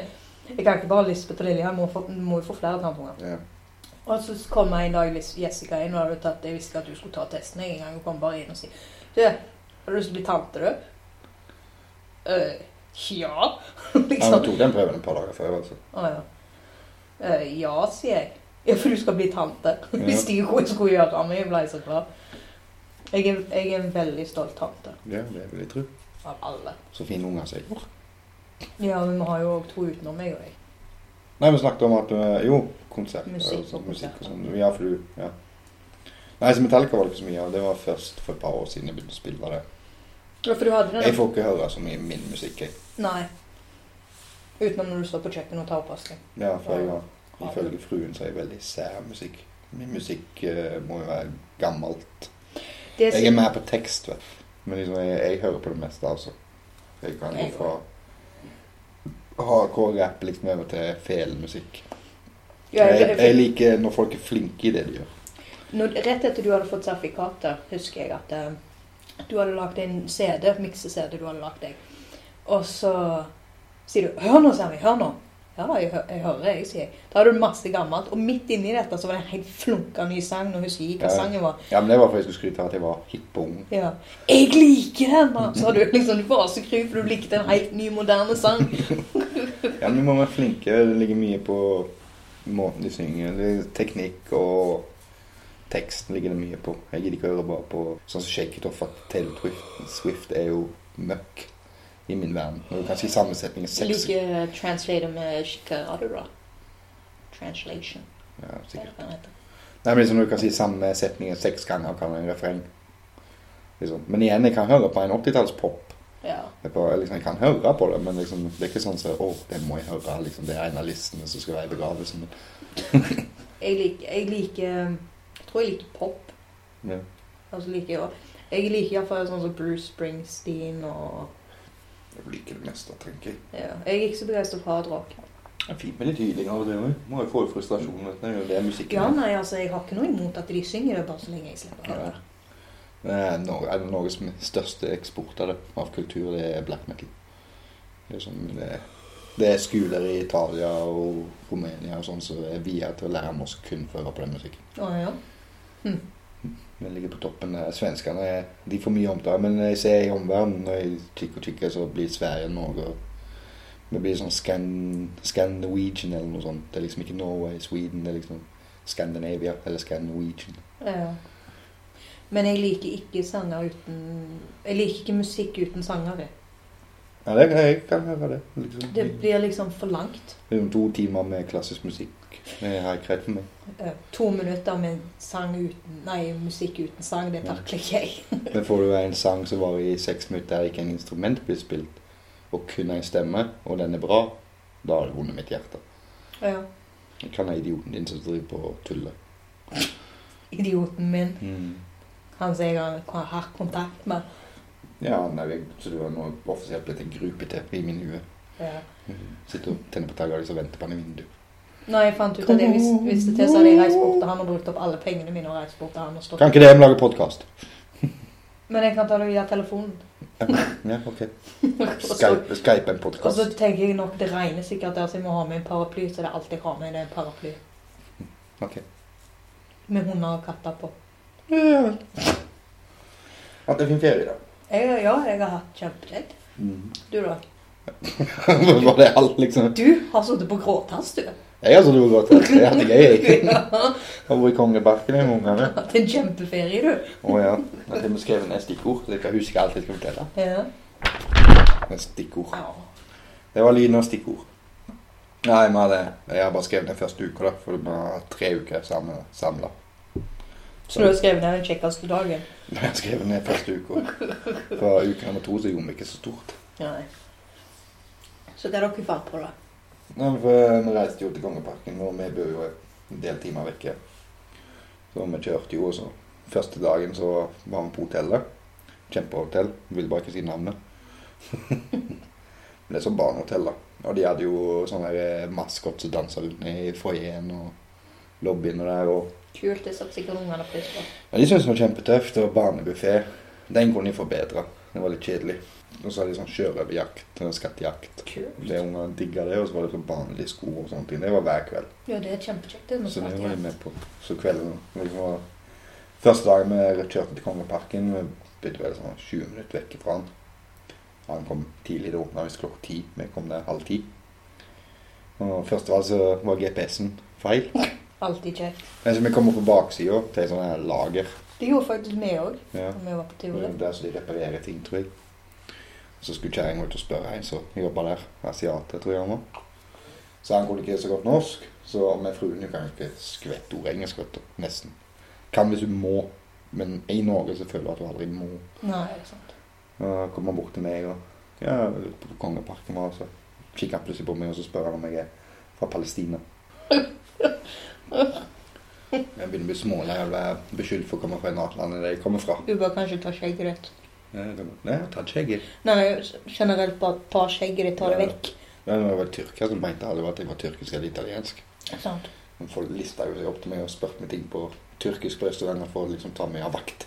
Speaker 2: Jeg kan ikke bare ha Lisbeth og Lilja. Jeg må få- må jo få flere tanteunger.
Speaker 1: Ja.
Speaker 2: Og så kom jeg en dag Lis- Jessica inn, og hadde tatt, jeg visste ikke at du skulle ta testen en gang. Hun kom bare inn og sier Du, har du lyst til å bli tante, du? «Øh, ja.
Speaker 1: Han
Speaker 2: liksom.
Speaker 1: tok den prøven et par dager før. altså.
Speaker 2: Å ja. «Øh, ja, sier jeg. Ja, for du skal bli tante.
Speaker 1: Ja.
Speaker 2: Visste ikke hva jeg skulle gjøre, men jeg ble så glad. Jeg er, jeg er en veldig stolt tante
Speaker 1: Ja, det vil jeg tro.
Speaker 2: av alle.
Speaker 1: Så fine unger som jeg gjorde.
Speaker 2: Ja, men vi har jo òg to utenom meg og jeg.
Speaker 1: Nei, vi snakket om at øh, Jo, konsert.
Speaker 2: Musikk
Speaker 1: og sånn,
Speaker 2: og
Speaker 1: musikk og
Speaker 2: konserter.
Speaker 1: sånn. Ja, for du Ja. Nei, så Metallica var det ikke så mye av. Det var først for et par år siden jeg begynte å spille det.
Speaker 2: Ja, for du hadde den
Speaker 1: Jeg får ikke høre så mye min musikk, jeg.
Speaker 2: Nei. Utenom når du står på kjøkkenet og tar oppvasken.
Speaker 1: Ja, for jeg har, ifølge fruen så er jeg veldig sær musikk. Min musikk eh, må jo være gammelt.
Speaker 2: Det
Speaker 1: Jeg er mer på tekst, vet du. Men liksom, jeg, jeg hører på det meste, altså. Jeg kan gå
Speaker 2: Jeg
Speaker 1: fra hardcore rap liksom over til felemusikk.
Speaker 2: Ja, jeg-
Speaker 1: Jeg, jeg liker når folk er flinke i det de gjør.
Speaker 2: Når, rett etter du hadde fått sertifikatet, husker jeg at eh, du hadde lagd en CD, mikse-CD du hadde lagd deg. Og så sier du 'Hør nå, Sammy. Hør nå.' Ja da, jeg, hø jeg hører, jeg, sier jeg. Da hadde du masse gammelt. Og midt inni dette så var det en helt flunka ny sang. Nå husker jeg ikke hva
Speaker 1: Ja.
Speaker 2: sangen var.
Speaker 1: Ja, men det var for jeg skulle skryte av at jeg var hipp og ung.
Speaker 2: Ja. 'Jeg liker den', da, sa du. liksom Du var så kry, for du likte en helt ny, moderne sang.
Speaker 1: Ja, men vi må være flinke. Det ligger mye på måten de synger. Det er teknikk og teksten ligger det mye på. Jeg gidder ikke å høre bare på sånn som Shake It Off at Taylor Swift- Swift er jo møkk i min verden. Og du kan si sammensetningen seks
Speaker 2: Liker eh, Translator med Chicarado, da. Translation.
Speaker 1: ja,
Speaker 2: hva er
Speaker 1: sikkert.
Speaker 2: det den heter?
Speaker 1: Nei, men liksom du kan si samme setningen seks ganger kan være en refreng. Liksom. Men igjen, jeg kan høre på en 80-tallspop.
Speaker 2: Ja.
Speaker 1: Jeg, bare- liksom, jeg kan høre på det, men liksom, det er ikke sånn som Å, det må jeg høre. Liksom, det er en av listene som skal være i begravelsen.
Speaker 2: Jeg liker, jeg liker eh, Jeg tror jeg liker pop.
Speaker 1: Ja.
Speaker 2: Altså liker jeg, jeg liker iallfall sånn som Bruce Springsteen og
Speaker 1: Jeg liker det meste, tenker jeg.
Speaker 2: ja. Jeg er ikke så begeistra for hardrock.
Speaker 1: Det er fint med litt hyling av og til òg. Må jo få ut frustrasjonen, vet du. når Det er musikken.
Speaker 2: Ja, nei, altså, jeg har ikke noe imot at de synger det, bare så lenge jeg slipper å høre det.
Speaker 1: Det er Nor- eh, er det Norges største eksport av, det, av kultur, det er black metal. Det er, sånn, det, det er skoler i Italia og Romania og sånn som så er via til å lære norsk kun for å høre på den musikken.
Speaker 2: Å ja.
Speaker 1: Den ligger på toppen. der. Svenskene er- de får mye omtale, men jeg ser i omverdenen når jeg tykker og tykker, så blir Sverige Norge og Vi blir sånn Scan, Scandinavian eller noe sånt. Det er liksom ikke Norway, Sweden, det er liksom Scandinavia eller Scandinavian.
Speaker 2: ja. Men jeg liker ikke sanger uten Jeg liker ikke musikk uten sangere.
Speaker 1: Ja, det, jeg kan høre det. Liksom.
Speaker 2: Det blir liksom for langt.
Speaker 1: Liksom to timer med klassisk musikk det har ikke rett for meg.
Speaker 2: Eh, To minutter med sang uten Nei, musikk uten sang, det takler ikke jeg.
Speaker 1: Men får du en sang som varer i seks minutter der ikke en instrument blir spilt, og kun en stemme, og den er bra, da har du vunnet mitt hjerte.
Speaker 2: Ja.
Speaker 1: Jeg kan ha idioten din som driver på og tuller.
Speaker 2: Idioten min.
Speaker 1: Mm.
Speaker 2: Han som jeg har hatt kontakt med.
Speaker 1: Ja, nei, jeg, så du har nå offisielt blitt en grupete i min hue.
Speaker 2: Ja.
Speaker 1: Mhm. Sitter og tenner på taggene og liksom venter på han i vinduet.
Speaker 2: Nei, jeg fant ut at jeg vis- visste til, så hadde jeg reist bort til han og brukt opp alle pengene mine. og reist bort til han og stått.
Speaker 1: Kan ikke det, vi lager podkast.
Speaker 2: Men jeg kan ta det via telefonen.
Speaker 1: Ja, ok.
Speaker 2: Og så-
Speaker 1: Skype, Skype en
Speaker 2: og så
Speaker 1: podkast.
Speaker 2: tenker jeg nok det regner sikkert der, så jeg må ha med en paraply. Så det er alt jeg har med, det er en paraply.
Speaker 1: Ok.
Speaker 2: Med hunder og katter på.
Speaker 1: Ja. Hatt en fin ferie, da. Mhm.
Speaker 2: Jeg, ja, jeg har hatt kjempekjekt. Du, da?
Speaker 1: Var det alt, liksom?
Speaker 2: Du har sittet på gråtass, du.
Speaker 1: Jeg har så lurt godt til. Jeg har hatt det gøy. jeg.
Speaker 2: Ja,
Speaker 1: Jeg har vært i Kongeparken jeg, med ungene.
Speaker 2: det er en kjempeferie, du.
Speaker 1: Å ja. Jeg har til og med skrevet ned stikkord. så Jeg kan huske alt jeg skal fortelle.
Speaker 2: Ja.
Speaker 1: Med stikkord.
Speaker 2: Ja.
Speaker 1: Det var lyden av stikkord. Nei, vi hadde Jeg har bare skrevet ned første uka, da. For det var tre uker sammen samla.
Speaker 2: Så du har skrevet ned den kjekkeste dagen?
Speaker 1: Jeg har skrevet ned første uka. For uke nummer to så gjorde vi ikke så stort.
Speaker 2: Nei. Så hva dere fant på, da?
Speaker 1: Nei, for eh, Vi reiste jo til Kongeparken, og vi bor jo en del timer vekke. Så vi kjørte jo, og så første dagen så var vi på hotellet. Kjempehotell. Vil bare ikke si navnet. Men det er sånn barnehotell, da. Og de hadde jo sånn der maskot som dansa rundt i foajeen og lobbyen og der. Og
Speaker 2: Kult, det satte sikkert ungene pris på.
Speaker 1: ja, de syntes det var kjempetøft. Og barnebuffé. Den kunne de forbedre. Det var litt kjedelig. Og så hadde de sånn sjørøverjakt. Skattejakt.
Speaker 2: Kult.
Speaker 1: Det Ungene digga det, og så var det sånn barnlige sko og sånne ting. Det var hver kveld.
Speaker 2: Ja, det er kjempekjekt. det er noe
Speaker 1: Så det
Speaker 2: sånt,
Speaker 1: var
Speaker 2: ja.
Speaker 1: jeg med på. Så kvelden liksom, var Første dagen vi kjørte til Kongeparken, vi bodde vel sånn 20 minutter vekk fra han. Han kom tidlig, det åpna visst klokka ti. Vi kom der halv ti. Og først av alt så var GPS-en feil.
Speaker 2: Alltid kjekt.
Speaker 1: Men så vi kom opp på baksida til et sånt her lager.
Speaker 2: Det gjorde faktisk vi òg,
Speaker 1: Ja.
Speaker 2: da vi var på
Speaker 1: Det
Speaker 2: Tivoli.
Speaker 1: er Der som de reparerer ting, tror jeg. Og Så skulle kjerringa ut og spørre en som jobba der. Asiate, tror jeg han var. Så han kunne ikke så godt norsk. Så med fruen du kan jo ikke skvette ord engelsk, vet du. Nesten. Kan hvis du må. Men i Norge så føler du at du aldri må.
Speaker 2: Nei, det er sant.
Speaker 1: Og kom han bort til meg og ja, ute på Kongeparken var, og så kikker han plutselig på meg og så spør han om jeg er fra Palestina. Jeg begynner å bli smålei av å være beskyldt for å komme fra et annet land enn det jeg kommer fra.
Speaker 2: Du bør kanskje ta skjegget ditt.
Speaker 1: Nei, jeg tar ikke skjegget.
Speaker 2: Nei, generelt bare ta skjegget ditt, ta det
Speaker 1: Ja.
Speaker 2: vekk.
Speaker 1: Ja, når jeg var tyrker, så mente alle at jeg var tyrkisk eller italiensk.
Speaker 2: Sant.
Speaker 1: Men folk lista jo seg opp til meg og spurte meg ting på tyrkisk på restauranter for å liksom ta meg av vakt.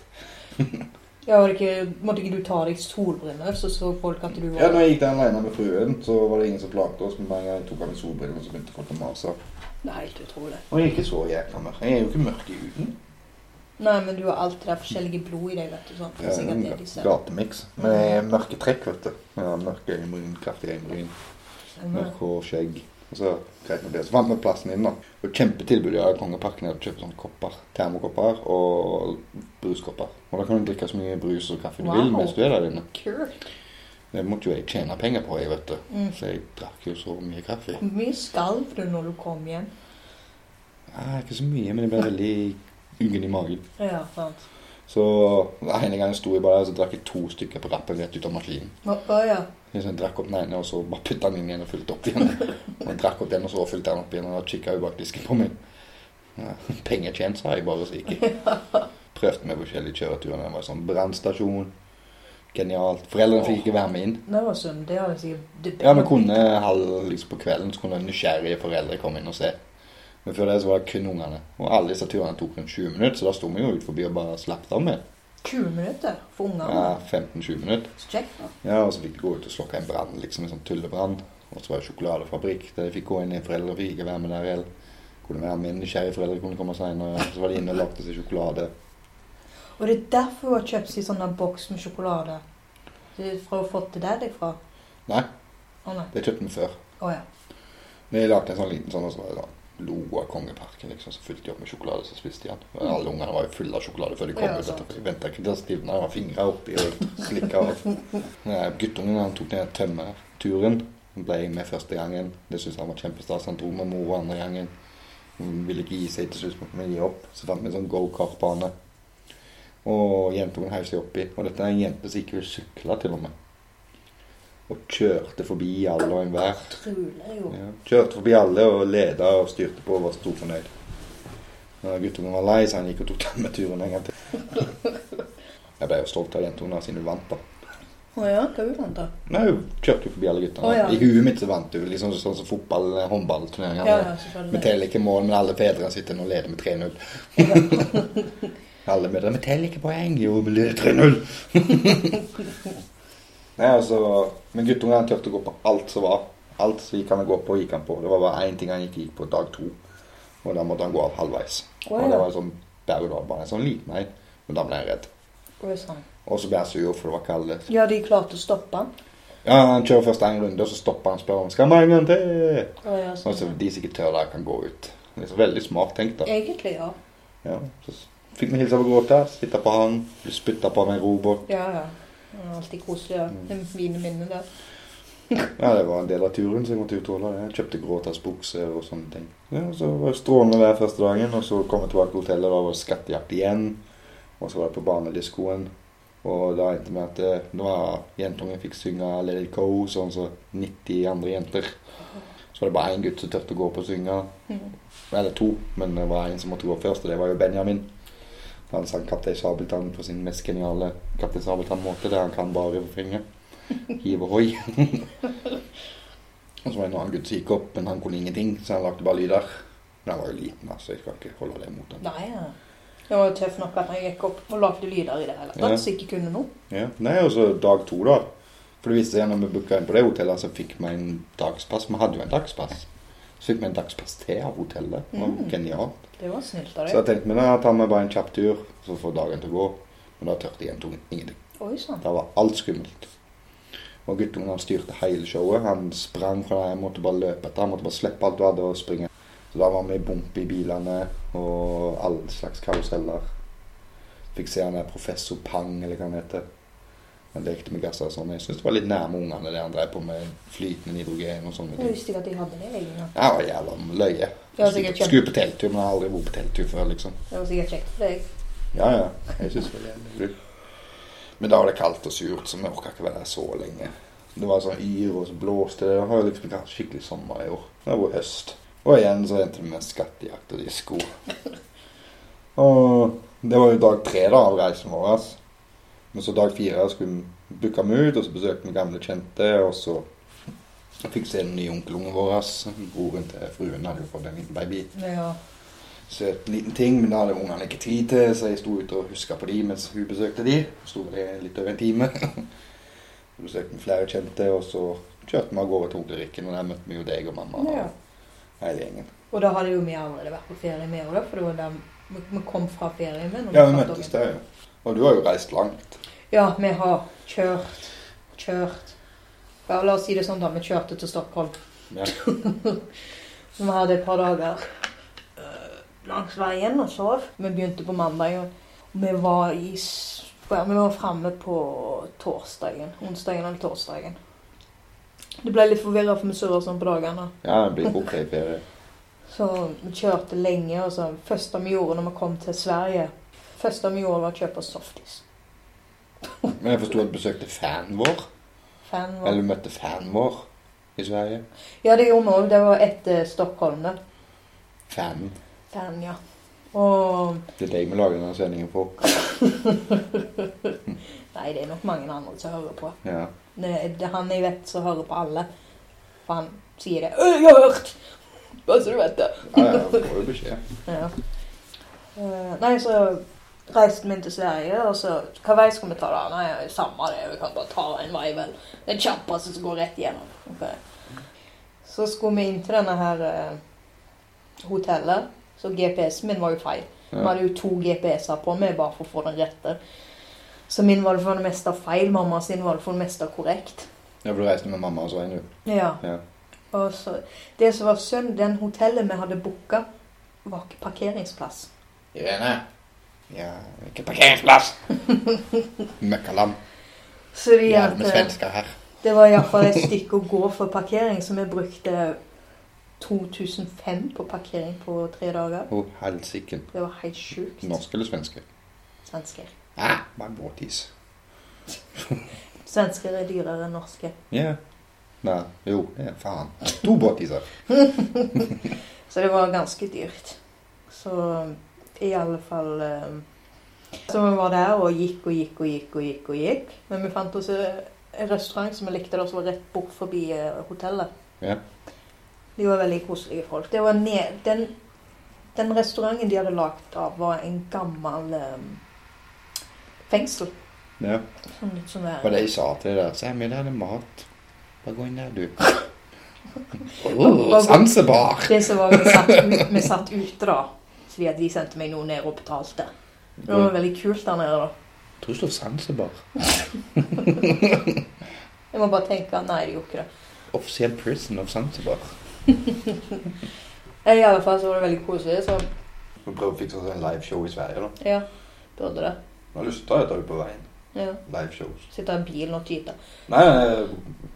Speaker 2: Ja, var det ikke, måtte ikke du ta deg solbriller, så så folk at du
Speaker 1: Ja,
Speaker 2: var
Speaker 1: når jeg gikk der alene med fruen, så var det ingen som plagde oss, men hver gang jeg tok av meg solbrillene, så begynte folk å mase.
Speaker 2: Det er helt utrolig.
Speaker 1: Og jeg er ikke så jækla mørk. Jeg er jo ikke mørk i huden.
Speaker 2: Nei, men du har alltid det forskjellige blod i deg, vet du. sånn. Det er sikkert det de
Speaker 1: Jeg er
Speaker 2: ser.
Speaker 1: Gatemiks. Men jeg er mørke trekk, vet du. Ja, mørke øyenbryn, kraftige øyenbryn,
Speaker 2: Stemmer.
Speaker 1: mørk hår, skjegg. Og så greit med det. Så fant vi plassen din, da. Og kjempetilbud av Kongeparken er å kjøpe sånne kopper. Termokopper og bruskopper. Og da kan du drikke så mye brus og kaffe du vil
Speaker 2: Wow.
Speaker 1: mens du er der inne.
Speaker 2: Kult.
Speaker 1: Det måtte jo jeg tjene penger på, jeg, vet du.
Speaker 2: Mm.
Speaker 1: Så jeg drakk jo så mye kaffe.
Speaker 2: Hvor mye skalv du når du kom hjem?
Speaker 1: Nei, Ah, ikke så mye, men jeg ble veldig uggen i magen.
Speaker 2: Ja, sant.
Speaker 1: Så den ene gangen sto jeg bare der, så drakk jeg to stykker på rappen rett ut av maskinen.
Speaker 2: Å å, ja.
Speaker 1: Så jeg drakk opp den ene, og så bare putta den inn igjen og fylte opp igjen. Og jeg drakk opp den, og så fylte jeg den opp igjen, og da kikka hun bak disken på meg. Ja, penger tjent, sa jeg bare, så gikk jeg. Prøvde meg på forskjellige kjøreturer. Det var sånn brannstasjon. Genialt. Foreldrene fikk ikke være med inn.
Speaker 2: Det var synd. Det hadde sikkert det-
Speaker 1: Ja, vi kunne halv liksom på kvelden, så kunne nysgjerrige foreldre komme inn og se. Men før det så var det kun ungene. Og alle disse turene tok rundt 20 minutter, så da sto vi jo ut forbi og bare slapp av med.
Speaker 2: 20 minutter for ungene.
Speaker 1: Ja, 15-20 minutter.
Speaker 2: Så kjekt, da.
Speaker 1: Ja, og så fikk de gå ut og slokke en brann, liksom en sånn tullebrann. Og så var det sjokoladefabrikk der de fikk gå inn i foreldre og fikk ikke være med der heller. Kunne være med nysgjerrige foreldre, kunne komme senere. Så var de inne og lagde seg sjokolade.
Speaker 2: Og det er derfor hun har kjøpt seg sånn der boks med sjokolade. Det er fra hun har fått det der deg fra.
Speaker 1: Nei,
Speaker 2: Å nei.
Speaker 1: det kjøpte vi før.
Speaker 2: Å ja.
Speaker 1: Men jeg lagde en sånn liten sånn, og så var det sånn lo av Kongeparken, liksom. Så fylte de opp med sjokolade, så spiste de den. Og alle ungene var jo fulle av sjokolade før de kom
Speaker 2: Ja,
Speaker 1: ut.
Speaker 2: sant.
Speaker 1: etterpå. Jeg venta ikke til det stivna, jeg var fingra oppi og slikka av. Nei, Guttungen han tok den tømmerturen. Han ble med første gangen. Det syntes han var kjempestas. Han dro med mor andre gangen. Hun ville ikke gi seg til slutt, måtte vi gi opp. Så fant vi en sånn go-kart-bane. Og jentungen heiv seg oppi. Og dette er en jente som ikke vil sykle, til og med. Og kjørte forbi alle og enhver.
Speaker 2: Utrolig, jo.
Speaker 1: Ja. Kjørte forbi alle og leda og styrte på og var stor fornøyd. Når guttungen var lei, så han gikk og tok den med turen en gang til. Jeg ble jo stolt av jentungen da, siden hun vant. da.
Speaker 2: Å ja, hva hun fant da?
Speaker 1: Nei, Hun kjørte jo forbi alle guttene.
Speaker 2: Å, ja.
Speaker 1: I huet mitt så vant hun, liksom sånn som fotball- eller håndballturneringer.
Speaker 2: Ja, ja,
Speaker 1: Vi
Speaker 2: selvfølgelig.
Speaker 1: teller ikke mål, men alle fedrene sitter nå og leder med 3-0. alle mødre Vi teller ikke poeng, jo, vi leder 3-0. Nei, altså, Men guttungen han turte å gå på alt som var. Alt som gikk han å gå på, gikk han på. Det var bare én ting han ikke gikk på dag to. Og da måtte han gå av halvveis.
Speaker 2: Å
Speaker 1: Og det
Speaker 2: ja.
Speaker 1: var en sånn berg-og-dal-bane. En sånn liten en. Men da ble han redd.
Speaker 2: Å, ja, sant.
Speaker 1: Og så ble han sur, for det var kaldt.
Speaker 2: Ja, de klarte å stoppe han.
Speaker 1: Ja, Han kjører først en runde, og så stopper han og spør om skal han ha en gang til.
Speaker 2: Å, ja,
Speaker 1: Sånn at de som ikke tør det, kan gå ut. Det er så veldig smart tenkt, da.
Speaker 2: Egentlig, ja.
Speaker 1: Ja, så s- fikk vi hilse på gråta, sitte på han, bli spytta på av en robåt.
Speaker 2: Ja, ja. Det er Alltid koselig. Ja.
Speaker 1: Mm.
Speaker 2: Det er Mine minner der.
Speaker 1: Ja, det var en del av turen, så jeg måtte uttåle det. Jeg kjøpte gråtas bukser og sånne ting. Ja, og Så var det strålende vær første dagen, og så kom jeg tilbake til hotellet, da var det skattejakt igjen. Og så var det på barnediskoen. Og da endte det med at eh, nå har jentungen fikk synge Let it go, sånn som 90 andre jenter. Så var det bare én gutt som turte å gå opp og synge.
Speaker 2: Mhm.
Speaker 1: Eller to, men det var en som måtte gå først, og det var jo Benjamin. Han sang 'Kaptein Sabeltann' på sin mest geniale Kaptein Sabeltann-måte, der han kan bare refrenget. Hiv ohoi. og så var det en annen gutt som gikk opp, men han kunne ingenting, så han lagde bare lyder. Men han var jo liten, altså. Jeg skal ikke holde det mot ham.
Speaker 2: Nei, ja. Det var tøff nok at han gikk opp og lagde lyder i det hele tatt,
Speaker 1: Ja.
Speaker 2: så jeg ikke kunne noe.
Speaker 1: Ja. Nei, og så dag to, da. For det viste seg når vi booka inn på det hotellet, så fikk vi en dagspass. Vi hadde jo en dagspass. Så fikk vi en dagspass til av hotellet. Det var
Speaker 2: Mm.
Speaker 1: genialt.
Speaker 2: Det var snilt av
Speaker 1: Så
Speaker 2: deg.
Speaker 1: jeg tenkte meg da, jeg tar meg bare en kjapp tur, så får dagen til å gå. Men da tørte jentungen ingenting.
Speaker 2: Oi sann.
Speaker 1: Da var alt skummelt. Og guttungen han styrte hele showet. Han sprang fra deg, måtte bare løpe etter. Han måtte bare slippe alt du hadde og springe. Så da var vi i bump i bilene og all slags karuseller. Fikk se han der professor Pang, eller hva han heter. Han lekte med gasser og sånn. Jeg syns det var litt nærme ungene det han drev på med flytende hydrogen og sånne
Speaker 2: Jeg
Speaker 1: ting.
Speaker 2: visste ikke at de hadde det lenger.
Speaker 1: Det var jævla løye.
Speaker 2: Ja, sikkert kjempe-
Speaker 1: Skulle på telttur, men jeg har aldri vært på telttur før, liksom.
Speaker 2: Det var sikkert kjekt for deg.
Speaker 1: Ja, ja. Jeg synes det var jævlig lurt. Men da var det kaldt og surt, så vi orka ikke være der så lenge. Det var sånn yr, og så blåste det. Det har jo liksom ikke hatt skikkelig sommer i år. Det har vært høst. Og igjen så endte det med skattejakt og disko. Og det var jo dag tre da av reisen vår. Men så dag fire skulle vi booka vi ut, og så besøkte vi gamle kjente. Og så fikk se den nye onkelungen vår. Broren til fruen hadde jo fått en liten baby
Speaker 2: Ja.
Speaker 1: søt liten ting, men da hadde ungene ikke tid til, så jeg sto ute og huska på de mens hun besøkte de. Sto vel i litt over en time. Så besøkte vi flere kjente, og så kjørte vi av gårde til onkel Rikken, og der møtte vi jo deg og mamma
Speaker 2: Ja.
Speaker 1: og hele gjengen.
Speaker 2: Og da hadde jo vi allerede vært på ferie med henne, for det var da vi- vi kom fra ferien. med når
Speaker 1: Ja, vi
Speaker 2: satt
Speaker 1: møttes
Speaker 2: opp.
Speaker 1: der, jo. Og du har jo reist langt.
Speaker 2: Ja, vi har kjørt, kjørt. Ja, la oss si det sånn da, vi kjørte til Stockholm.
Speaker 1: Ja.
Speaker 2: Vi hadde et par dager eh, langs veien og sov. Vi begynte på mandag, og vi var, i, s- ja, vi var fremme på torsdagen. Onsdagen eller torsdagen. Det ble litt forvirra for vi surra sånn på dagene.
Speaker 1: Ja, det blir borte i ferie.
Speaker 2: Så vi kjørte lenge, og så første vi gjorde når vi kom til Sverige Første vi gjorde, var å kjøpe softis.
Speaker 1: Men jeg forsto at du besøkte fanen vår.
Speaker 2: Fan var
Speaker 1: Eller du møtte fanen vår i Sverige.
Speaker 2: Ja, det gjorde vi òg. Det var etter Stockholm, det.
Speaker 1: Fanen.
Speaker 2: Fan, ja. Og
Speaker 1: Det er deg vi lager denne sendingen for.
Speaker 2: Nei, det er nok mange andre som hører på.
Speaker 1: Ja.
Speaker 2: Det det er han jeg vet som hører på alle. For han sier det. «Øy, 'Jeg har hørt!' Bare så du vet det.
Speaker 1: Ja, ja, får jo beskjed.
Speaker 2: Ja. Eh, nei, så reiste vi inn til Sverige, og så Hva vei skal vi ta, da? Nei, samme det, vi kan bare ta en vei, vel. Den kjappeste som går rett igjennom. Ok. Så skulle vi inn til denne her eh, hotellet, så GPS-en min var jo feil. Vi
Speaker 1: Ja.
Speaker 2: hadde jo to GPS-er på meg bare for å få den rette. Så min var det for det meste feil, mamma sin var det for det meste korrekt.
Speaker 1: Ja, for du reiste med mamma og så en, du.
Speaker 2: Ja.
Speaker 1: Ja.
Speaker 2: Og så, det som var synd, den hotellet vi hadde booka, var ikke parkeringsplass.
Speaker 1: Irene. Ja, ikke parkeringsplass. Møkkalam.
Speaker 2: Så de
Speaker 1: Jævla med
Speaker 2: at,
Speaker 1: svensker her.
Speaker 2: det var iallfall et stykke å gå for parkering, så vi brukte 2005 på parkering på tre dager.
Speaker 1: Å, helsike.
Speaker 2: Det var helt sjukt.
Speaker 1: Norsk eller svenske?
Speaker 2: Svensker.
Speaker 1: Ah, bare båtis.
Speaker 2: Svensker er dyrere enn norske.
Speaker 1: Ja. Nei, jo, ja, faen. To båtiser.
Speaker 2: Så det var ganske dyrt. Så i alle fall eh, Så vi var der og gikk og gikk og gikk og gikk. og gikk. Men vi fant oss eh, en restaurant som vi likte, der, som var rett bort forbi eh, hotellet.
Speaker 1: Ja.
Speaker 2: De var veldig koselige folk. Det var ned, den, den restauranten de hadde lagd av, var en gammel eh, fengsel.
Speaker 1: Ja.
Speaker 2: Sånn litt sånn
Speaker 1: Hva
Speaker 2: der.
Speaker 1: de sa til deg der? Sammy, der er det mat. Bare gå inn der, du.
Speaker 2: Bare
Speaker 1: Åh,
Speaker 2: gå-
Speaker 1: sansebar.
Speaker 2: Det som var, vi satt, ut, vi satt ute da, fordi at de sendte meg noe ned og betalte. Det
Speaker 1: Mm.
Speaker 2: var veldig kult der nede, da.
Speaker 1: Tror du det står sansebar?
Speaker 2: Jeg må bare tenke nei, det gjorde ikke det.
Speaker 1: Offisiell prison of Zanzibar.
Speaker 2: I alle fall så var det veldig koselig, så
Speaker 1: Vi prøver å fikse oss en liveshow i Sverige, da.
Speaker 2: ja, burde det.
Speaker 1: Nå har jeg lyst til å ta et øye på veien.
Speaker 2: Ja.
Speaker 1: Liveshows.
Speaker 2: Sitte i bilen og tyte.
Speaker 1: Nei, eh,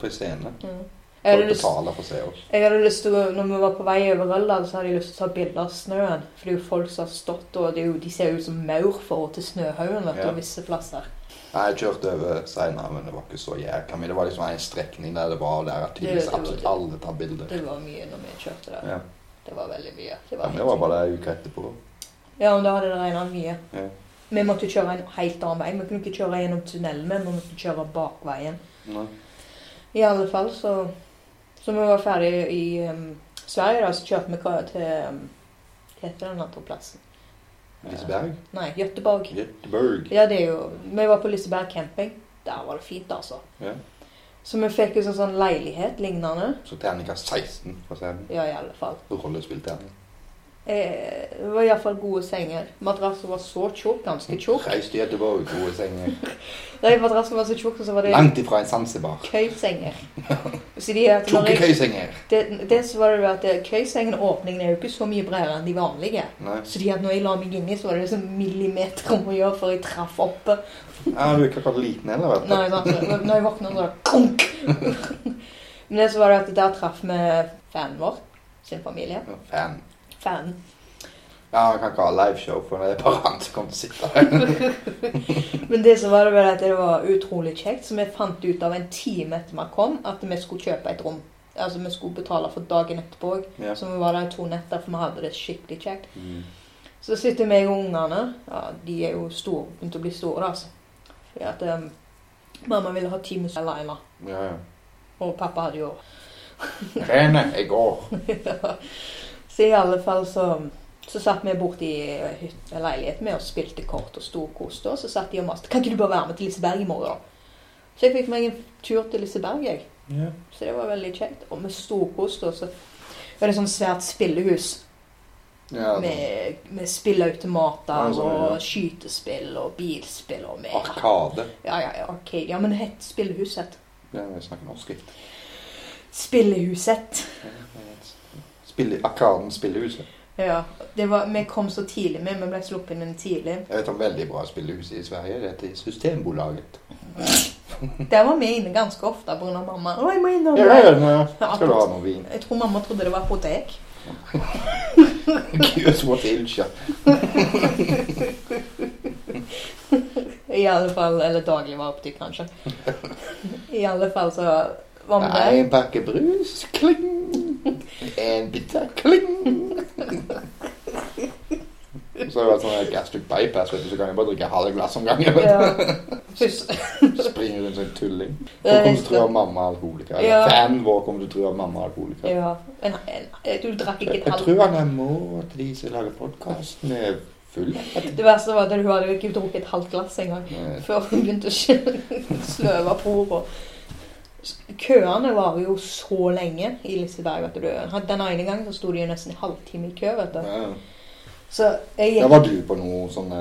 Speaker 1: på scene.
Speaker 2: Ja. Jeg,
Speaker 1: Folk
Speaker 2: hadde lyst,
Speaker 1: betaler for å se oss.
Speaker 2: jeg hadde lyst til å, når vi var på vei over Røldal, så hadde jeg lyst til å ta bilder av snøen. For det er jo folk som har stått, og det er jo, de ser jo ut som maur forhold til snøhaugen, vet du,
Speaker 1: Ja.
Speaker 2: visse plasser.
Speaker 1: Nei, jeg kjørte over senere, men det var ikke så jækla mye. Det var liksom en strekning der det var der at
Speaker 2: Det- det
Speaker 1: tydeligvis
Speaker 2: var
Speaker 1: absolutt
Speaker 2: det.
Speaker 1: alle tar bilder.
Speaker 2: Det var mye når vi kjørte der.
Speaker 1: Ja.
Speaker 2: Det var veldig mye. Det
Speaker 1: Ja,
Speaker 2: var
Speaker 1: men
Speaker 2: helt
Speaker 1: det var bare en uke etterpå.
Speaker 2: Ja, men da hadde det regnet mye.
Speaker 1: Ja.
Speaker 2: Vi måtte jo kjøre en helt annen vei. Vi kunne ikke kjøre gjennom tunnelen, men vi måtte kjøre bakveien.
Speaker 1: Nei.
Speaker 2: I alle fall, så Så vi var ferdige i um, Sverige, da, så kjørte vi ka- til um, Hva heter den andre plassen?
Speaker 1: Liseberg?
Speaker 2: Nei, Göteborg.
Speaker 1: Göteborg.
Speaker 2: Ja, det er jo Vi var på Liseberg camping. Der var det fint, altså.
Speaker 1: Ja.
Speaker 2: Så vi fikk jo sånn, sånn leilighet lignende.
Speaker 1: Så terningkast 16 på scenen.
Speaker 2: Ja, i alle fall.
Speaker 1: Rollespillterning.
Speaker 2: Eh, det var iallfall gode senger. Madrassen var så tjukk, ganske tjukk.
Speaker 1: Reis til Göteborg, gode senger.
Speaker 2: Nei, madrassen var så tjukk, og så var det
Speaker 1: Langt ifra en Zanzibar.
Speaker 2: køysenger. Så de at når
Speaker 1: Tjukke
Speaker 2: jeg,
Speaker 1: køysenger.
Speaker 2: det, det så var det jo at eh, køysengen og åpningen er jo ikke så mye bredere enn de vanlige.
Speaker 1: Nei.
Speaker 2: Så de at når jeg la meg inni, så var det liksom millimeter om å gjøre før jeg traff oppe.
Speaker 1: Ja, du er ikke akkurat liten heller, vet du.
Speaker 2: Når jeg, når- når jeg våkna, så var det konk! Men det så var det at der traff vi fanen vår, sin familie.
Speaker 1: Ja, Fan.
Speaker 2: Fanen.
Speaker 1: Ja, man kan ikke ha liveshow, for det er bare han som kommer til å sitte her.
Speaker 2: Men det som var det vel at det var utrolig kjekt, så vi fant ut av en time etter vi kom, at vi skulle kjøpe et rom. Altså, vi skulle betale for dagen etterpå òg.
Speaker 1: Ja.
Speaker 2: Så vi var der i to netter, for vi hadde det skikkelig kjekt.
Speaker 1: Mm.
Speaker 2: Så sitter meg og ungene. Ja, de er jo store, begynte å bli store, altså. Fordi at em, mamma ville ha time alene.
Speaker 1: Ja, ja.
Speaker 2: Og pappa hadde jo
Speaker 1: Rene, jeg går.
Speaker 2: Så i alle fall så, så satt vi borti hyt- leiligheten med og spilte kort og storkoste oss. Så satt de og maste. Kan ikke du bare være med til Liseberg i morgen, da? Så jeg fikk meg en tur til Liseberg, jeg.
Speaker 1: Ja.
Speaker 2: Så det var veldig kjekt. Og vi storkoste oss. Og Det var et sånt svært spillehus
Speaker 1: Ja, sånn
Speaker 2: med, med spillautomater
Speaker 1: Ja, sånn, ja.
Speaker 2: og skytespill og bilspill og med
Speaker 1: Arkade.
Speaker 2: Ja, ja, ja, Arcade. Ja, men det het Spillehuset.
Speaker 1: Ja, jeg snakker norsk. jeg.
Speaker 2: Spillehuset.
Speaker 1: Spille, Arkaden spillehuset.
Speaker 2: Ja, det var, Vi kom så tidlig med, vi ble sluppet inn tidlig.
Speaker 1: Jeg vet om veldig bra spillehus i Sverige. Det heter Systembolaget.
Speaker 2: Der var vi inne ganske ofte pga. mamma. Å, jeg må innom
Speaker 1: Ja,
Speaker 2: der.
Speaker 1: ja, ja. Skal du ha noe vin?
Speaker 2: Jeg tror mamma trodde det var apotek.
Speaker 1: Gud, what ilja.
Speaker 2: I alle fall, Eller dagligvarebutikk, kanskje. I alle fall så var vi der.
Speaker 1: En pakke brus, kling. En bitter, kling. Så har det vært sånn her gastric bypass, vet du, så kan jeg bare drikke halve glass om gangen. vet
Speaker 2: Ja. Først-
Speaker 1: du. Springer rundt som en tulling. Hvor kom du tro at mamma er alkoholiker?
Speaker 2: Ja.
Speaker 1: Eller Fan, hvor kom du tro at mamma er alkoholiker?
Speaker 2: Ja. En, en, du drakk ikke
Speaker 1: Jeg
Speaker 2: et
Speaker 1: jeg
Speaker 2: halvt
Speaker 1: tror han er mor til de som lager podkasten, er full.
Speaker 2: Det verste var at hun hadde jo ikke drukket et halvt glass engang.
Speaker 1: Eh,
Speaker 2: før hun begynte å skjø- sløve på henne. Køene varer jo så lenge i Liseberg. vet du. Den ene gangen så sto de jo nesten en halvtime i kø. vet du.
Speaker 1: ja.
Speaker 2: Så jeg
Speaker 1: Ja,
Speaker 2: gikk,
Speaker 1: var du på noen sånne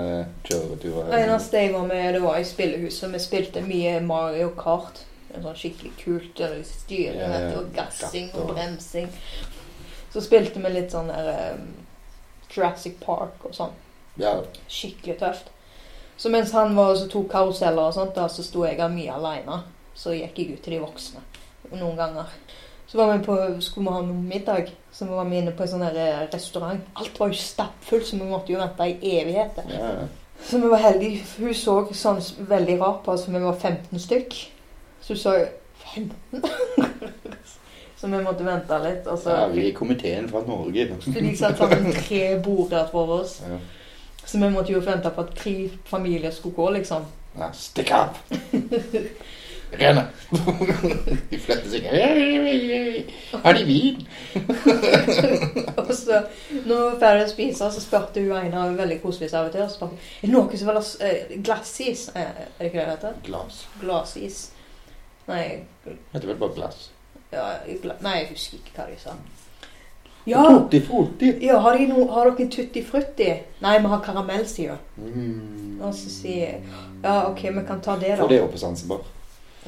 Speaker 1: kjøreturer?
Speaker 2: eneste jeg var med, det var i spillehuset. Vi spilte mye Mario Kart. En sånn skikkelig kult og styring
Speaker 1: Ja, ja.
Speaker 2: vet du, og gassing
Speaker 1: Gatter.
Speaker 2: og bremsing. Så spilte vi litt sånn der eh, Jurassic Park og sånn.
Speaker 1: Ja,
Speaker 2: Skikkelig tøft. Så mens han var og så tok karuseller og sånt, da, så sto jeg der mye alene. Så gikk jeg ut til de voksne noen ganger. Så var vi på, skulle vi ha noe middag, så vi var vi inne på en sånn der eh, restaurant. Alt var jo stappfullt, så vi måtte jo vente i evigheter.
Speaker 1: ja, ja.
Speaker 2: Så vi var heldige. Hun så sånn s- veldig rart på oss, for vi var 15 stykk. Så hun sa 15? så vi måtte vente litt. Og så
Speaker 1: ja vi i komiteen fra Norge.
Speaker 2: For de satt sammen tre border for oss.
Speaker 1: Ja.
Speaker 2: Så vi måtte jo forvente på at tre familier skulle gå, liksom.
Speaker 1: Ja, stikk av! Rene! De flette synger «Hei, hei, hei, Har de vin?
Speaker 2: Og så, når vi var ferdig å spise, så spurte hun ene av en veldig koselig servitør så spurte, hun, Er det noen som vil ha s- eh, glassis? Eh, Er det ikke det det heter?
Speaker 1: Glass.
Speaker 2: Glasis. Nei,
Speaker 1: Heter vel bare glass.
Speaker 2: ja, gla, nei, jeg husker ikke hva de sa. Ja,
Speaker 1: Frutti, frutti.
Speaker 2: ja har, de no, har dere tutti frutti? Nei, vi har karamell, sier hun.
Speaker 1: Mm.
Speaker 2: Og så sier jeg Ja, OK, vi kan ta det,
Speaker 1: For det
Speaker 2: da.
Speaker 1: er jo på Zanzibar.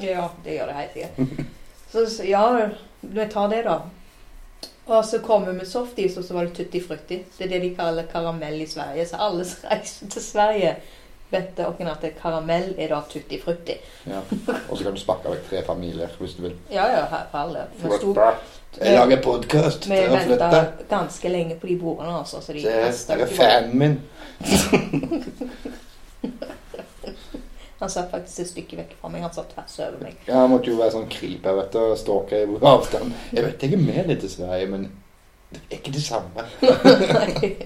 Speaker 2: Ja, det gjør det helt igjen. Så så- ja, vi tar det, da. Og så kommer vi med softis, og så var det tutti frutti. Det er det de kaller karamell i Sverige. Så alle som reiser til Sverige, vet dere at karamell er da tutti frutti.
Speaker 1: Ja. Og så kan du sparke vekk tre familier hvis du vil.
Speaker 2: Ja, ja, her for alle. Vi sto
Speaker 1: Jeg lager podkast!
Speaker 2: vi venta ganske lenge på de bordene, altså. Så de
Speaker 1: Det
Speaker 2: kastet
Speaker 1: er
Speaker 2: ikke bort.
Speaker 1: fanen min.
Speaker 2: Han satt faktisk et stykke vekk fra meg. Han satt tvers over meg.
Speaker 1: Ja, Han måtte jo være sånn creeper vet du, og stalke i avstand. Jeg vet jeg er med litt til Sverige, men det er ikke det samme.
Speaker 2: Nei,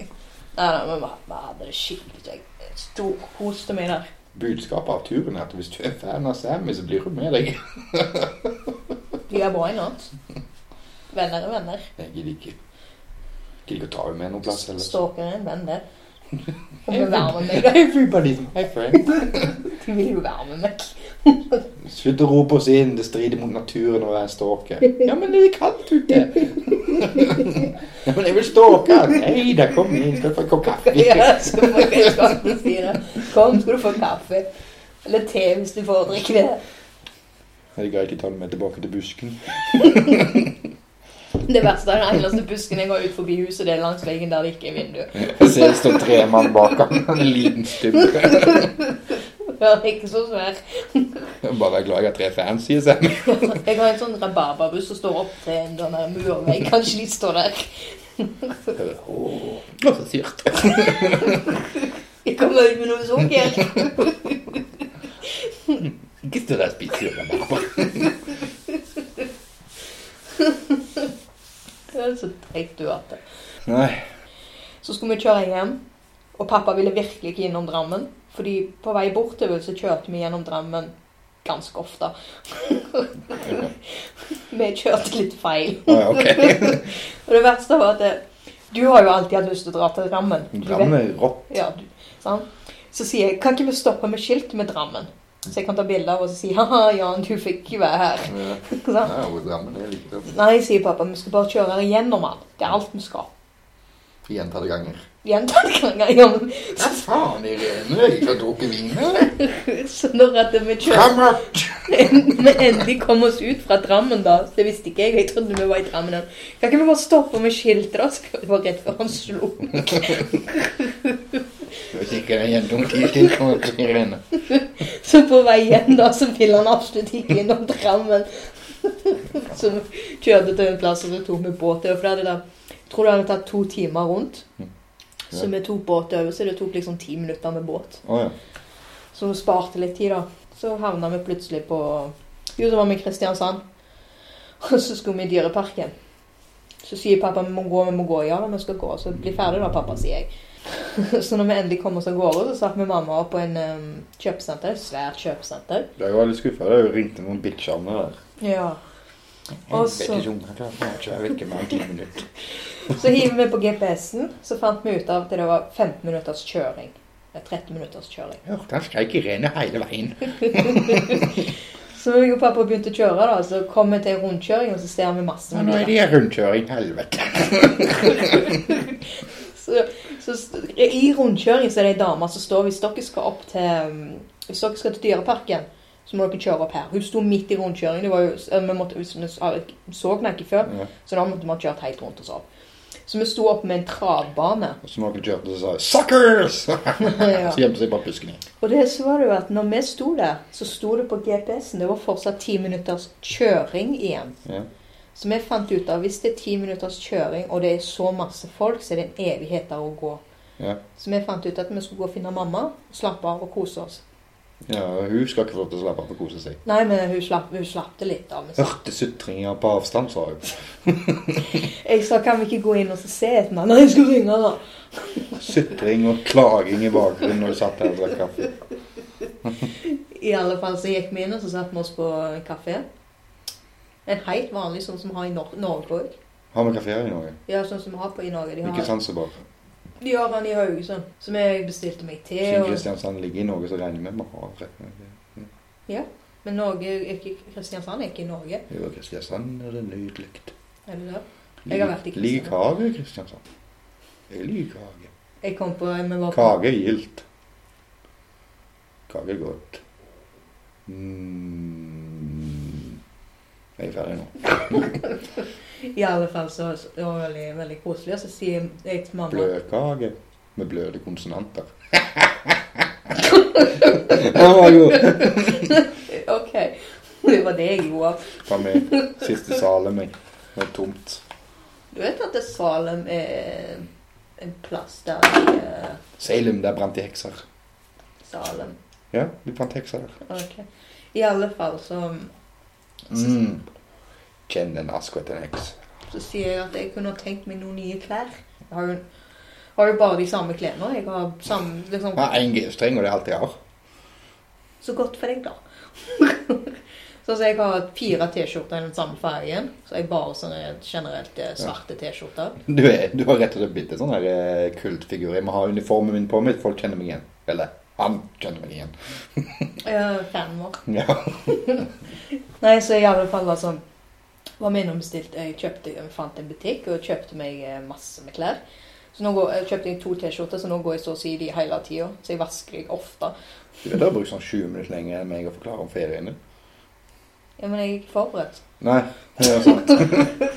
Speaker 2: nei, men vi hadde det skikkelig kjekt. Storkoste meg der.
Speaker 1: Budskapet av turen er at hvis du er fan av Sammy, så blir hun med deg.
Speaker 2: Vi er bra i natt. Venner er venner.
Speaker 1: Jeg gidder ikke. Gidder ikke å ta henne med noen plass heller.
Speaker 2: Stalker er en venn, det. Og vil være med meg.
Speaker 1: Everybody's my friend.
Speaker 2: De vil jo være med meg.
Speaker 1: Slutt å rope oss inn, det strider mot naturen å være stalker. Ja, men det kan du ikke. Ja, men jeg vil stalke. Nei da, kom inn, skal du få en kopp kaffe.
Speaker 2: Ja, så må jeg kanskje si det. Kom, skal du få kaffe. Eller te, hvis du foretrekker det.
Speaker 1: Er det greit å ta henne med tilbake til busken?
Speaker 2: Det verste er den eneste busken jeg går ut forbi huset, det er langs veggen der det ikke er vindu.
Speaker 1: Jeg ser det står tre mann bak ham, en liten stubbe.
Speaker 2: Det er ikke så svær.
Speaker 1: Bare vær glad jeg har tre fans, sier Sam.
Speaker 2: Jeg har en sånn rabarbrabuss som står opp til en sånn her murvegg. Kanskje de står der.
Speaker 1: Åh, det var så syrt.
Speaker 2: Jeg kommer ut med noe sukker.
Speaker 1: Ikke stå der og spise rabarber.
Speaker 2: Det er så teit du at det.
Speaker 1: Nei.
Speaker 2: Så skulle vi kjøre hjem, og pappa ville virkelig ikke innom Drammen. Fordi på vei bortover så kjørte vi gjennom Drammen ganske ofte. Vi kjørte litt feil.
Speaker 1: Å, ja, ok.
Speaker 2: Og det verste var at eh, du har jo alltid hatt lyst til å dra til Drammen. Du vet-
Speaker 1: Drammen er rått.
Speaker 2: Ja, du, sant? Så sier jeg, kan ikke vi stoppe med skilt med Drammen? Så jeg kan ta bilder av og så si, haha, Jan, du fikk ikke være her.
Speaker 1: Ja,
Speaker 2: Sant?
Speaker 1: ja, og Drammen er like rått.
Speaker 2: Nei, sier pappa, vi skal bare kjøre gjennom han. Det er alt vi skal.
Speaker 1: Gjentatte ganger.
Speaker 2: Gjentatte ganger. Ja, men-
Speaker 1: Hva faen, Irene? Jeg har ikke drukket vin, eller?
Speaker 2: Så når at vi kjører
Speaker 1: Fram opp!
Speaker 2: Vi endelig kom oss ut fra Drammen, da. Det visste ikke jeg. Jeg trodde vi var i Drammen. igjen. Kan ikke vi bare stoppe med skiltet, da? Så det var rett før han slo.
Speaker 1: Hvis ikke den jentunge tiden kommer til Irene.
Speaker 2: Så på vei hjem, da, så ville han absolutt ikke innom Drammen. Så vi kjørte til en plass, og så tok vi båt over. For det hadde da, jeg tror det hadde tatt to timer rundt. Så vi tok båt over, så det tok liksom ti minutter med båt.
Speaker 1: Å ja.
Speaker 2: Så vi sparte litt tid, da. Så havna vi plutselig på Jo, så var vi i Kristiansand. Og så skulle vi i Dyreparken. Så sier pappa vi må gå, vi må gå. Ja da, vi skal gå. Så bli ferdig da, pappa, sier jeg. Så når vi endelig kom oss av gårde, så satt vi mamma opp på en um, kjøpesenter. Et svært kjøpesenter.
Speaker 1: Jeg var litt skuffet. Det ringte noen bitcharmer der.
Speaker 2: Ja. Og så-
Speaker 1: Helvetes unge, jeg klarer ikke sånn, å kjøre vekk med en ti minutter.
Speaker 2: Så hiver vi på GPS-en, så fant vi ut av at det var 15 minutters kjøring. Eh, 13 minutters kjøring.
Speaker 1: Hørte han skreik Irene hele veien.
Speaker 2: Så jeg og pappa begynte å kjøre, da. Så kom vi til rundkjøring, og så ser vi masse
Speaker 1: Og nå er det rundkjøring, helvete.
Speaker 2: Så, så st- I rundkjøring så er det ei dame som står Hvis dere skal opp til um, Hvis dere skal til Dyreparken, så må dere kjøre opp her. Hun sto midt i rundkjøringen. Det var jo, s- eh, vi måtte, vi s- eh, så henne ikke før,
Speaker 1: Ja.
Speaker 2: så da måtte vi ha kjørt helt rundt oss opp. Så vi sto opp med en travbane.
Speaker 1: Og så noen kjørte og sa jeg, 'suckers'!
Speaker 2: Ja.
Speaker 1: Så gjemte seg bak busken igjen.
Speaker 2: Og det så var det jo at når vi sto der, så sto det på GPS-en Det var fortsatt ti minutters kjøring igjen.
Speaker 1: Ja.
Speaker 2: Så vi fant ut av hvis det er ti minutters kjøring, og det er så masse folk, så er det en evighet der å gå.
Speaker 1: Ja.
Speaker 2: Så vi fant ut at vi skulle gå og finne mamma, slappe av og kose oss.
Speaker 1: Ja, hun skal ikke få lov til å slappe av og kose seg.
Speaker 2: Nei, men hun slapp, hun slapp det litt av. Men
Speaker 1: Hørte sutringer på avstand, sa hun.
Speaker 2: jeg sa kan vi ikke gå inn og så se etter henne? Nei, jeg skal ringe henne.
Speaker 1: Sutring og klaging i bakgrunnen når du satt der og drakk kaffe.
Speaker 2: I alle fall så gikk vi inn og så satte vi oss på en kafé. En helt vanlig sånn som vi har i Nor Norge òg.
Speaker 1: Har vi kafeer i Norge?
Speaker 2: Ja, sånn som vi har på i Norge. De har,
Speaker 1: Ikke Zanzibar.
Speaker 2: De har han i Haugesund. Så vi bestilte meg te.
Speaker 1: Siden
Speaker 2: Og,
Speaker 1: Kristiansand ligger i Norge, så regner vi med å ha rett.
Speaker 2: men Norge, er ikke, Kristiansand er ikke i Norge.
Speaker 1: Jo, Kristiansand er det nydelig.
Speaker 2: Er det det? Jeg har vært i Kristiansand.
Speaker 1: Ligger Kage i Kristiansand? Jeg liker Kage.
Speaker 2: Jeg kom på vi var på-
Speaker 1: Kage er gildt. Kage er godt. Mm. Jeg er ferdig nå.
Speaker 2: I alle fall så så det var veldig, veldig koselig. Og så sier jeg til mamma
Speaker 1: Bløtkake med bløte konsonanter. Den var god.
Speaker 2: OK. Det var det jeg gjorde.
Speaker 1: Ta med siste salen min. Det er tomt.
Speaker 2: Du vet at det Salem er en plass der de eh,
Speaker 1: Salem, der brant de hekser.
Speaker 2: Salem.
Speaker 1: Ja, de brant hekser der.
Speaker 2: Ok. I alle fall så,
Speaker 1: Mm. Kjenn en ask og etter en heks.
Speaker 2: så sier jeg at jeg kunne ha tenkt meg noen nye klær. Jeg har jo, har jo bare de samme klærne. Jeg har samme, liksom,
Speaker 1: Ja, en G-streng, og det er alt jeg har.
Speaker 2: Så godt for deg, da. så, så jeg har fire T-skjorter i den samme fargen. Så jeg bare sånne generelt eh, svarte T-skjorter.
Speaker 1: Du, er, du har rett og slett blitt en sånn her eh, kultfigur. Jeg må ha uniformen min på meg, folk kjenner meg igjen. Eller han kjenner meg igjen.
Speaker 2: Eh, Fanen vår.
Speaker 1: Ja.
Speaker 2: Nei, så i alle fall var sånn var min omstilt. Jeg kjøpte, jeg fant en butikk og kjøpte meg eh, masse med klær. Så nå går, jeg kjøpte jeg to T-skjorter, så nå går jeg så å si de hele tida. Så jeg vasker de ofte.
Speaker 1: Du vet, du har brukt sånn 20 minutter lenger enn meg å forklare om ferien din.
Speaker 2: Ja, men jeg er ikke forberedt.
Speaker 1: Nei. det er sant.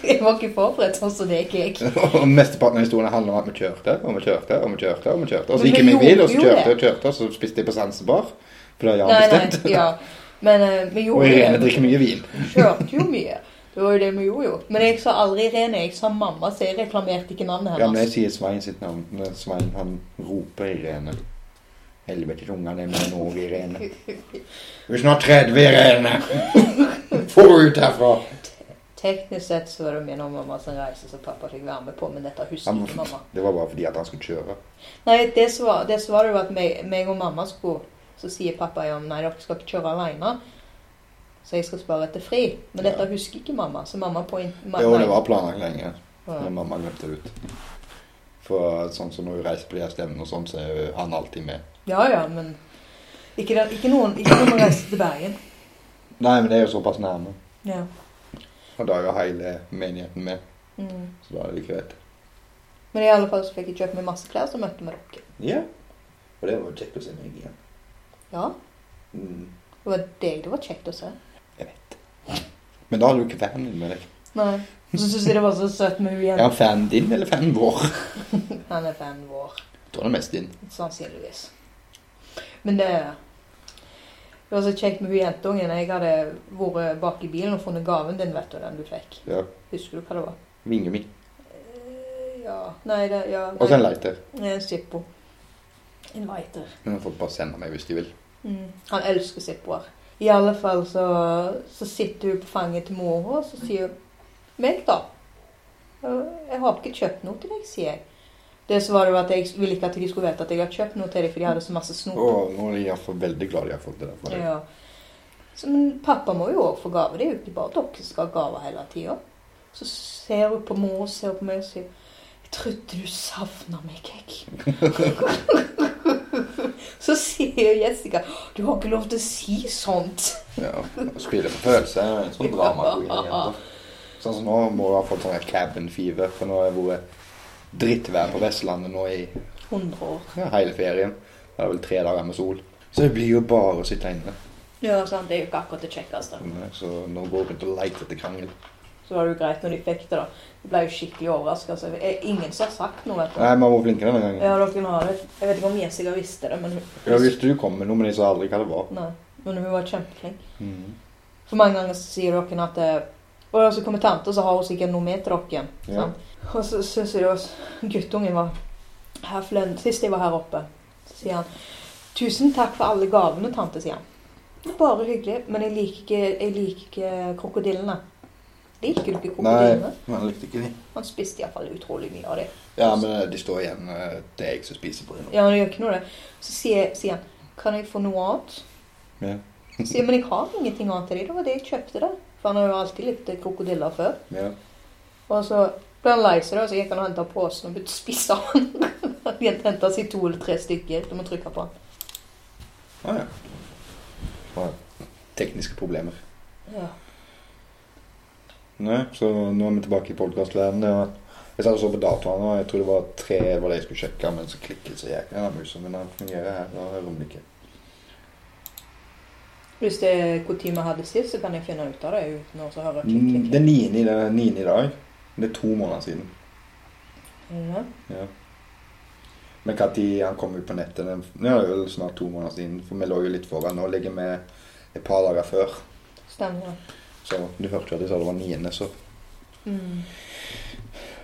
Speaker 2: Jeg var ikke forberedt, sånn som det gikk jeg.
Speaker 1: Og mesteparten av historien handler om at vi kjørte, og vi kjørte, og vi kjørte. Og vi kjørte. Og så
Speaker 2: Men
Speaker 1: gikk
Speaker 2: vi
Speaker 1: jeg med i bil, og så
Speaker 2: gjorde jo
Speaker 1: kjørte og kjørte, og så spiste jeg på Sansebar. For det har
Speaker 2: Nei,
Speaker 1: Jan
Speaker 2: nei,
Speaker 1: bestemt.
Speaker 2: ja. Men eh, vi
Speaker 1: Og Irene
Speaker 2: gjorde det.
Speaker 1: drikker mye vin.
Speaker 2: Kjørte jo mye. Det var jo det vi gjorde, jo. Men jeg sa aldri Irene. Jeg sa mamma, så jeg reklamerte ikke navnet
Speaker 1: Ja, men jeg
Speaker 2: hennes.
Speaker 1: sier Svein sitt navn. men Svein, han roper Irene. Helvetes ungene er med nå, Irene. Du er snart 30, Irene! Få ut herfra!
Speaker 2: Teknisk sett så var det min og mamma sin reise som pappa fikk være med på, men dette husker
Speaker 1: Han,
Speaker 2: ikke mamma.
Speaker 1: det var bare fordi at han skulle kjøre.
Speaker 2: Nei, det som var, det som var det jo at meg, meg og mamma skulle Så sier pappa ja, nei, dere skal ikke kjøre alene. Så jeg skal spare etter fri. Men
Speaker 1: Ja.
Speaker 2: dette husker ikke mamma. Så mamma på in- ma-
Speaker 1: Jo, det
Speaker 2: nei.
Speaker 1: var planlagt lenge,
Speaker 2: Ja.
Speaker 1: men mamma glemte det ut. For sånn som når hun reiser på de her stevnene og sånn, så er jo han alltid med.
Speaker 2: Ja ja, men ikke, det- ikke noen Ikke når man reiser til Bergen.
Speaker 1: Nei, men det er jo såpass nærme.
Speaker 2: Ja.
Speaker 1: Og da er jo hele menigheten med,
Speaker 2: Mm.
Speaker 1: så da er det greit.
Speaker 2: Men i alle fall så fikk jeg kjøpt meg masse klær, så møtte vi dere.
Speaker 1: Ja. Og det var jo kjekt å se meg igjen.
Speaker 2: Ja,
Speaker 1: Mm.
Speaker 2: det var deg det var kjekt å se.
Speaker 1: Jeg vet. Men da har du ikke fanen din med deg.
Speaker 2: Nei. Og så syns jeg det var så søtt med hun
Speaker 1: Er
Speaker 2: igjen.
Speaker 1: han fanen din eller fanen vår?
Speaker 2: Han er fanen vår.
Speaker 1: Jeg tror han er mest din.
Speaker 2: Sannsynligvis. Men det Det var så kjekt med hun jentungen. Jeg hadde vært bak i bilen og funnet gaven din, vet du, den du fikk.
Speaker 1: Ja.
Speaker 2: Husker du hva det var?
Speaker 1: Vinge min.
Speaker 2: Eh, Ja Nei, det ja,
Speaker 1: Og så en lighter.
Speaker 2: nei, En Zippo. En lighter.
Speaker 1: Men folk bare sender meg hvis de vil.
Speaker 2: Mm. Han elsker Zippoer. I alle fall så, så sitter hun på fanget til mora, og så sier hun Meg, da? «Eh, Jeg har ikke kjøpt noe til deg, sier jeg. Det så var det jo at Jeg ville ikke at de skulle vite at jeg hadde kjøpt noe til dem, for de hadde så masse snop.
Speaker 1: Og nå er de iallfall veldig glad de har fått det der fra deg.
Speaker 2: Ja. Så, men pappa må jo òg få gave. Det er jo ikke bare dere som skal ha gave hele tida. Så ser hun på mor og ser hun på meg og sier Jeg trodde du savna meg, jeg. så sier Jessica Du har ikke lov til å si sånt.
Speaker 1: Ja. Og spille på følelser. en Sånn dramaprogram. igjen, da. Sånn som nå må du ha fått sånn her cabin fever, for nå har det vært drittvær på Vestlandet nå i
Speaker 2: 100 år.
Speaker 1: ja, hele ferien. Det er vel tre dager med sol. Så det blir jo bare å sitte inne.
Speaker 2: Ja, sant. Det er jo ikke akkurat det kjekkeste.
Speaker 1: Så nå går jeg rundt og leter etter krangel.
Speaker 2: Så var det jo greit når de fikk det, da. De ble jo skikkelig overraska. Altså. Eh, Ingen som har sagt noe, vet du.
Speaker 1: Nei, man var flinkere denne gangen.
Speaker 2: Ja, dere har det. Jeg vet ikke om Jessica visste det, men hun,
Speaker 1: Ja, hvis du kom med noe, men jeg sa aldri hva det var.
Speaker 2: Nei, men hun var kjempeflink.
Speaker 1: Mm.
Speaker 2: For mange ganger så sier dere at eh, Og så kommer tante, og så har hun sikkert noe med til dere.
Speaker 1: Ja.
Speaker 2: sant? Og så syns jeg også guttungen var her forleden Sist jeg var her oppe, så sier han 'Tusen takk for alle gavene, tante', sier han. Det er Bare hyggelig. Men jeg liker ikke, jeg liker ikke krokodillene. Liker du ikke
Speaker 1: Nei,
Speaker 2: krokodillene?
Speaker 1: man likte ikke de.
Speaker 2: Han spiste iallfall utrolig mye av dem.
Speaker 1: Ja, men de står igjen. eh, Det er jeg som spiser på det nå.
Speaker 2: Ja, han gjør ikke noe av det. Så sier, sier han 'Kan jeg få noe annet?'
Speaker 1: Ja.
Speaker 2: Så sier jeg 'Men jeg har ingenting annet til deg. Det var det jeg kjøpte, da.' For han har jo alltid likt krokodiller før.
Speaker 1: Ja.
Speaker 2: Og så ble han lei seg, da, så gikk han og henta posen og begynte å spise han. Han henta seg to eller tre stykker. Du må trykke på han.
Speaker 1: Ah, ja. Og tekniske problemer.
Speaker 2: Ja.
Speaker 1: Nei, så nå er vi tilbake i podkastverdenen. Jeg satt og så på dataene, og jeg tror det var tre var det jeg skulle sjekke, men så klikket så jækla den musen. Men den fungerer her, da hører vi den ikke.
Speaker 2: Hvis det er hvor tid vi hadde sist, så kan jeg finne ut av det uten å så høre klikk, klikk,
Speaker 1: Mm, Det
Speaker 2: klikk.
Speaker 1: er 9. i dag- 9. i dag. Det er to måneder siden.
Speaker 2: Ja.
Speaker 1: Ja. Men når han kom ut på nettet den- ja, Det er vel snart to måneder siden, for vi lå jo litt foran. Nå ligger vi et par dager før.
Speaker 2: Stemmer.
Speaker 1: Så du hørte jo at jeg sa det var 9., så
Speaker 2: Mm.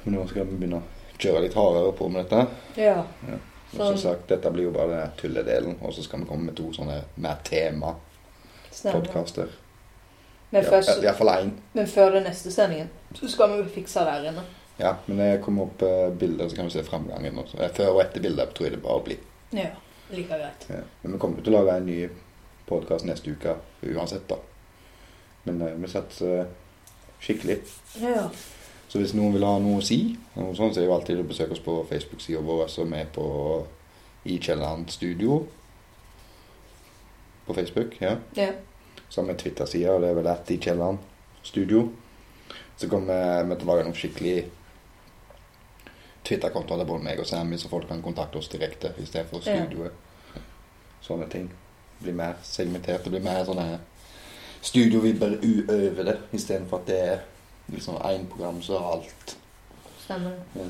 Speaker 1: Men nå skal vi begynne å kjøre litt hardere på med dette.
Speaker 2: Ja.
Speaker 1: Ja. Og som
Speaker 2: Sånn
Speaker 1: sagt, dette blir jo bare den der tulledelen, og så skal vi komme med to sånne mer tema-podkaster.
Speaker 2: stemmer.
Speaker 1: Ja,
Speaker 2: Men
Speaker 1: i-
Speaker 2: først,
Speaker 1: Iallfall én.
Speaker 2: Men før den neste sendingen så skal vi fikse der inne.
Speaker 1: Ja, men det kommer opp eh, bilder, så kan du se framgangen. Også. Eh, Før og etter bilder tror jeg det bare blir.
Speaker 2: Ja, like greit.
Speaker 1: Ja. Men vi kommer til å lage en ny podkast neste uke uansett, da. Men eh, vi satser eh, skikkelig.
Speaker 2: Ja.
Speaker 1: Så hvis noen vil ha noe å si, noe sånt, så er det jo alltid å besøke oss på Facebook-sida vår, som er på I Kielland Studio. På Facebook, ja.
Speaker 2: ja.
Speaker 1: Så har vi Twitter-sida, og det er vel at I Kielland Studio. Så kommer vi til å lage noen skikkelig Twitter-kontoer til både meg og Sammy, så folk kan kontakte oss direkte istedenfor
Speaker 2: Ja.
Speaker 1: studioet. Sånne ting. Bli mer segmentert. Det blir mer sånne studiovibber uøver det, istedenfor at det er liksom én program som har alt.
Speaker 2: Stemmer det.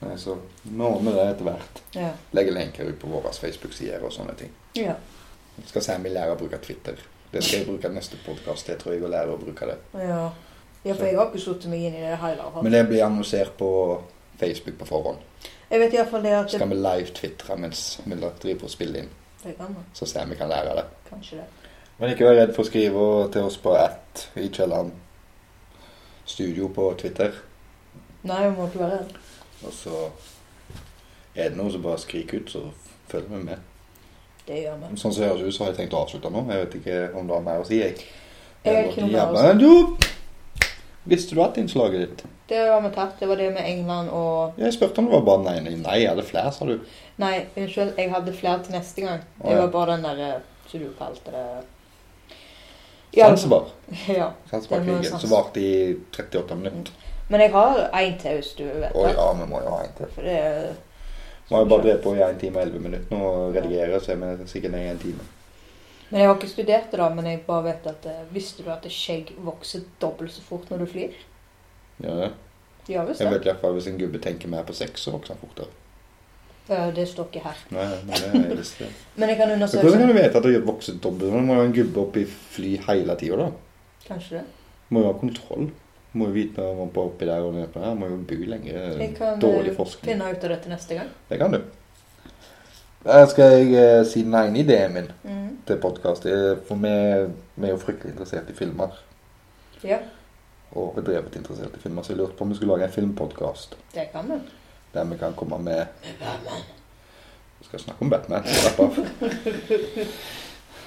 Speaker 1: Nei, så nå ordner det etter hvert.
Speaker 2: Ja.
Speaker 1: Legger lenker ut på våre Facebook-sider og sånne ting.
Speaker 2: ja.
Speaker 1: Skal Sammy lære å bruke Twitter. Det skal jeg bruke i neste podkast. Jeg tror jeg vil lære å bruke det.
Speaker 2: ja. Ja, for jeg har ikke satt meg inn i det hele tatt.
Speaker 1: Men det blir annonsert på Facebook på forhånd.
Speaker 2: Jeg vet iallfall det at
Speaker 1: Så
Speaker 2: det,
Speaker 1: kan vi live-twitre mens vi driver og spiller inn,
Speaker 2: det kan man.
Speaker 1: så Sammy kan lære det.
Speaker 2: Kanskje det.
Speaker 1: Men ikke vær redd for å skrive til oss på at i Kielland studio på Twitter.
Speaker 2: Nei, jeg må ikke være redd.
Speaker 1: Og så er det noe som bare skriker ut, så følger vi med.
Speaker 2: Det gjør vi.
Speaker 1: Sånn som det høres ut, så har jeg tenkt å avslutte nå. Jeg vet ikke om du har mer å si, jeg.
Speaker 2: Jeg har ikke noe mer å si.
Speaker 1: Ja, men du, visste du at innslaget ditt?
Speaker 2: Det var vi tatt. Det var det med England og
Speaker 1: Jeg spurte om det var bare den ene. Nei, jeg hadde flere, sa du.
Speaker 2: Nei, unnskyld. Jeg hadde flere til neste gang.
Speaker 1: Å,
Speaker 2: Det
Speaker 1: ja.
Speaker 2: var bare den derre som du kalte det Ja,
Speaker 1: Zanzibar.
Speaker 2: ja. Det
Speaker 1: Zanzibar-krigen,
Speaker 2: var
Speaker 1: som varte i 38 minutter.
Speaker 2: Men jeg har én til, hvis du vet
Speaker 1: Å
Speaker 2: det.
Speaker 1: ja, vi må jo ha en til.
Speaker 2: For det er
Speaker 1: Vi har jo bare drevet på i 1 time og 11 minutter nå og redigere, så er vi sikkert nede i 1 time.
Speaker 2: Men jeg har ikke studert det, da, men jeg bare vet at eh, Visste du at skjegg vokser dobbelt så fort når du flyr?
Speaker 1: Ja, ja.
Speaker 2: De gjør visst
Speaker 1: Jeg
Speaker 2: det.
Speaker 1: vet i hvert fall hvis en gubbe tenker mer på sex, så vokser han fortere.
Speaker 2: Eh, Det står ikke her.
Speaker 1: Nei, men det er jeg visst det.
Speaker 2: Men
Speaker 1: Men
Speaker 2: jeg kan
Speaker 1: Hvordan kan
Speaker 2: undersøke
Speaker 1: du vite at du har vokst dobbelt? Du må jo ha en gubbe opp i fly hele tida, da.
Speaker 2: Kanskje det.
Speaker 1: Må jo ha kontroll. Må jo vite når man er oppi der og nede på der. Må jo bo lenger.
Speaker 2: Jeg kan
Speaker 1: Dårlig
Speaker 2: eh,
Speaker 1: forskning.
Speaker 2: finne ut av det til neste gang.
Speaker 1: Det kan du. Her skal jeg eh, si den ene ideen min
Speaker 2: Mhm.
Speaker 1: til podkast. For vi, vi er jo fryktelig interessert i filmer.
Speaker 2: Ja,
Speaker 1: Og bedrevet interessert i filmer. Så jeg lurte på om vi skulle lage en filmpodkast
Speaker 2: det kan vi.
Speaker 1: der vi kan komme med Vi skal snakke om Batman. Slapp av.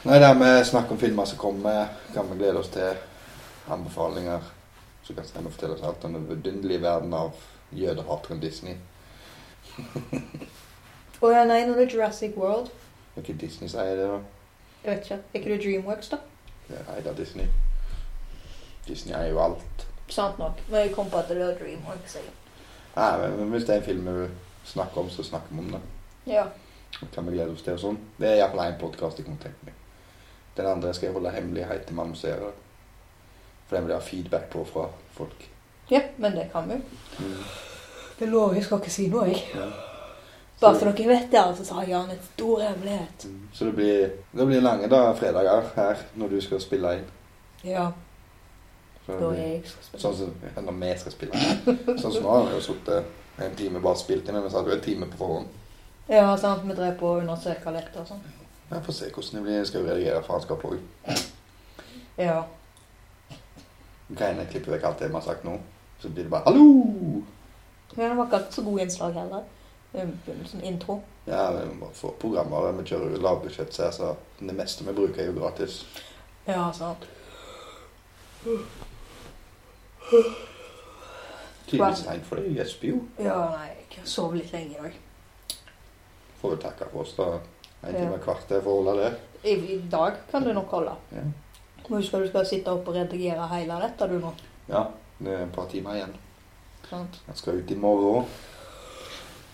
Speaker 1: Nei, der vi snakker om filmer som kommer, kan vi glede oss til anbefalinger. Så kan Steinar fortelle oss alt om den vidunderlige verden av jødehateren Disney.
Speaker 2: Å ja, nei, nå er det Jurassic World.
Speaker 1: Hva ikke Disney sier det, da?
Speaker 2: Jeg vet ikke. Er ikke det Dreamworks, da?
Speaker 1: Det er eid av Disney. Disney er jo alt.
Speaker 2: Sant nok. Men jeg kom på at det var Dreamworks. Jeg.
Speaker 1: Nei, men- men Hvis det er en film vi vil snakke om, så snakker vi om det.
Speaker 2: Ja.
Speaker 1: Og Kan vi glede oss til og sånn. Det er iallfall én podkast jeg kunne tenkt meg. Den andre skal jeg holde hemmelig helt til vi annonserer det. For den vil jeg ha feedback på fra folk.
Speaker 2: ja, men det kan vi.
Speaker 1: Mm.
Speaker 2: Det lover jeg skal ikke si noe, jeg.
Speaker 1: Ja.
Speaker 2: Bare så dere vet det, altså, så har Jan en stor hemmelighet.
Speaker 1: Mm. Så det blir, det blir lange da, fredager her når du skal spille inn.
Speaker 2: Ja,
Speaker 1: Så det
Speaker 2: da
Speaker 1: blir-
Speaker 2: er jeg skal spille.
Speaker 1: Sånn som ja, når vi skal spille inn. Sånn som nå har vi jo sittet en time bare spilt inn, men så hadde vi en time på forhånd.
Speaker 2: Ja, sant. Vi drev på å undersøke litt og sånn.
Speaker 1: Jeg får se hvordan det blir. Jeg skal jo redigere faenskap òg.
Speaker 2: Ja.
Speaker 1: greiene klipper vekk alt det vi har sagt nå. Så blir det bare 'hallo'.
Speaker 2: Men det var ikke alltid så god innslag heller. Um, Sånn intro.
Speaker 1: Ja, vi må bare få programvare. Vi kjører jo lavbudsjett, så jeg sa, det meste vi bruker, er jo gratis.
Speaker 2: Ja, sant.
Speaker 1: Tidlig seint for deg. Gjesper jo.
Speaker 2: Ja, nei, jeg sov litt lenge i dag.
Speaker 1: Får vi takke for oss, da. En
Speaker 2: Ja.
Speaker 1: time og kvart er for å holde det.
Speaker 2: I, I dag kan du nok holde.
Speaker 1: Ja.
Speaker 2: Men Husk at du skal sitte opp og redigere hele dette du nå.
Speaker 1: ja. Det er et par timer igjen.
Speaker 2: Sant?
Speaker 1: Jeg skal ut i morgen òg.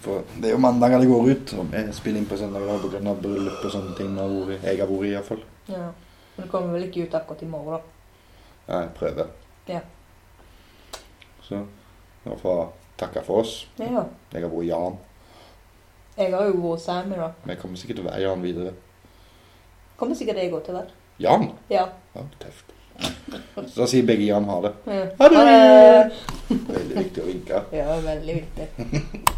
Speaker 1: For det er jo mandager det går ut. Og vi spiller inn på søndager pga. bryllup og sånne ting. når Jeg har vært i, iallfall.
Speaker 2: Ja. Men det kommer vel ikke ut akkurat i morgen, da.
Speaker 1: Ja, jeg prøver.
Speaker 2: Ja.
Speaker 1: Så da får jeg takke for oss.
Speaker 2: Men ja.
Speaker 1: Jeg har vært Jan.
Speaker 2: Jeg har jo vært Sammy, da.
Speaker 1: Men jeg kommer sikkert til å være Jan videre.
Speaker 2: Kommer sikkert jeg òg til å være.
Speaker 1: Jan?
Speaker 2: Ja.
Speaker 1: Ja, tøft. Så da sier begge Jan ha det.
Speaker 2: ja.
Speaker 1: Ha det! Veldig viktig å vinke.
Speaker 2: Ja, veldig viktig.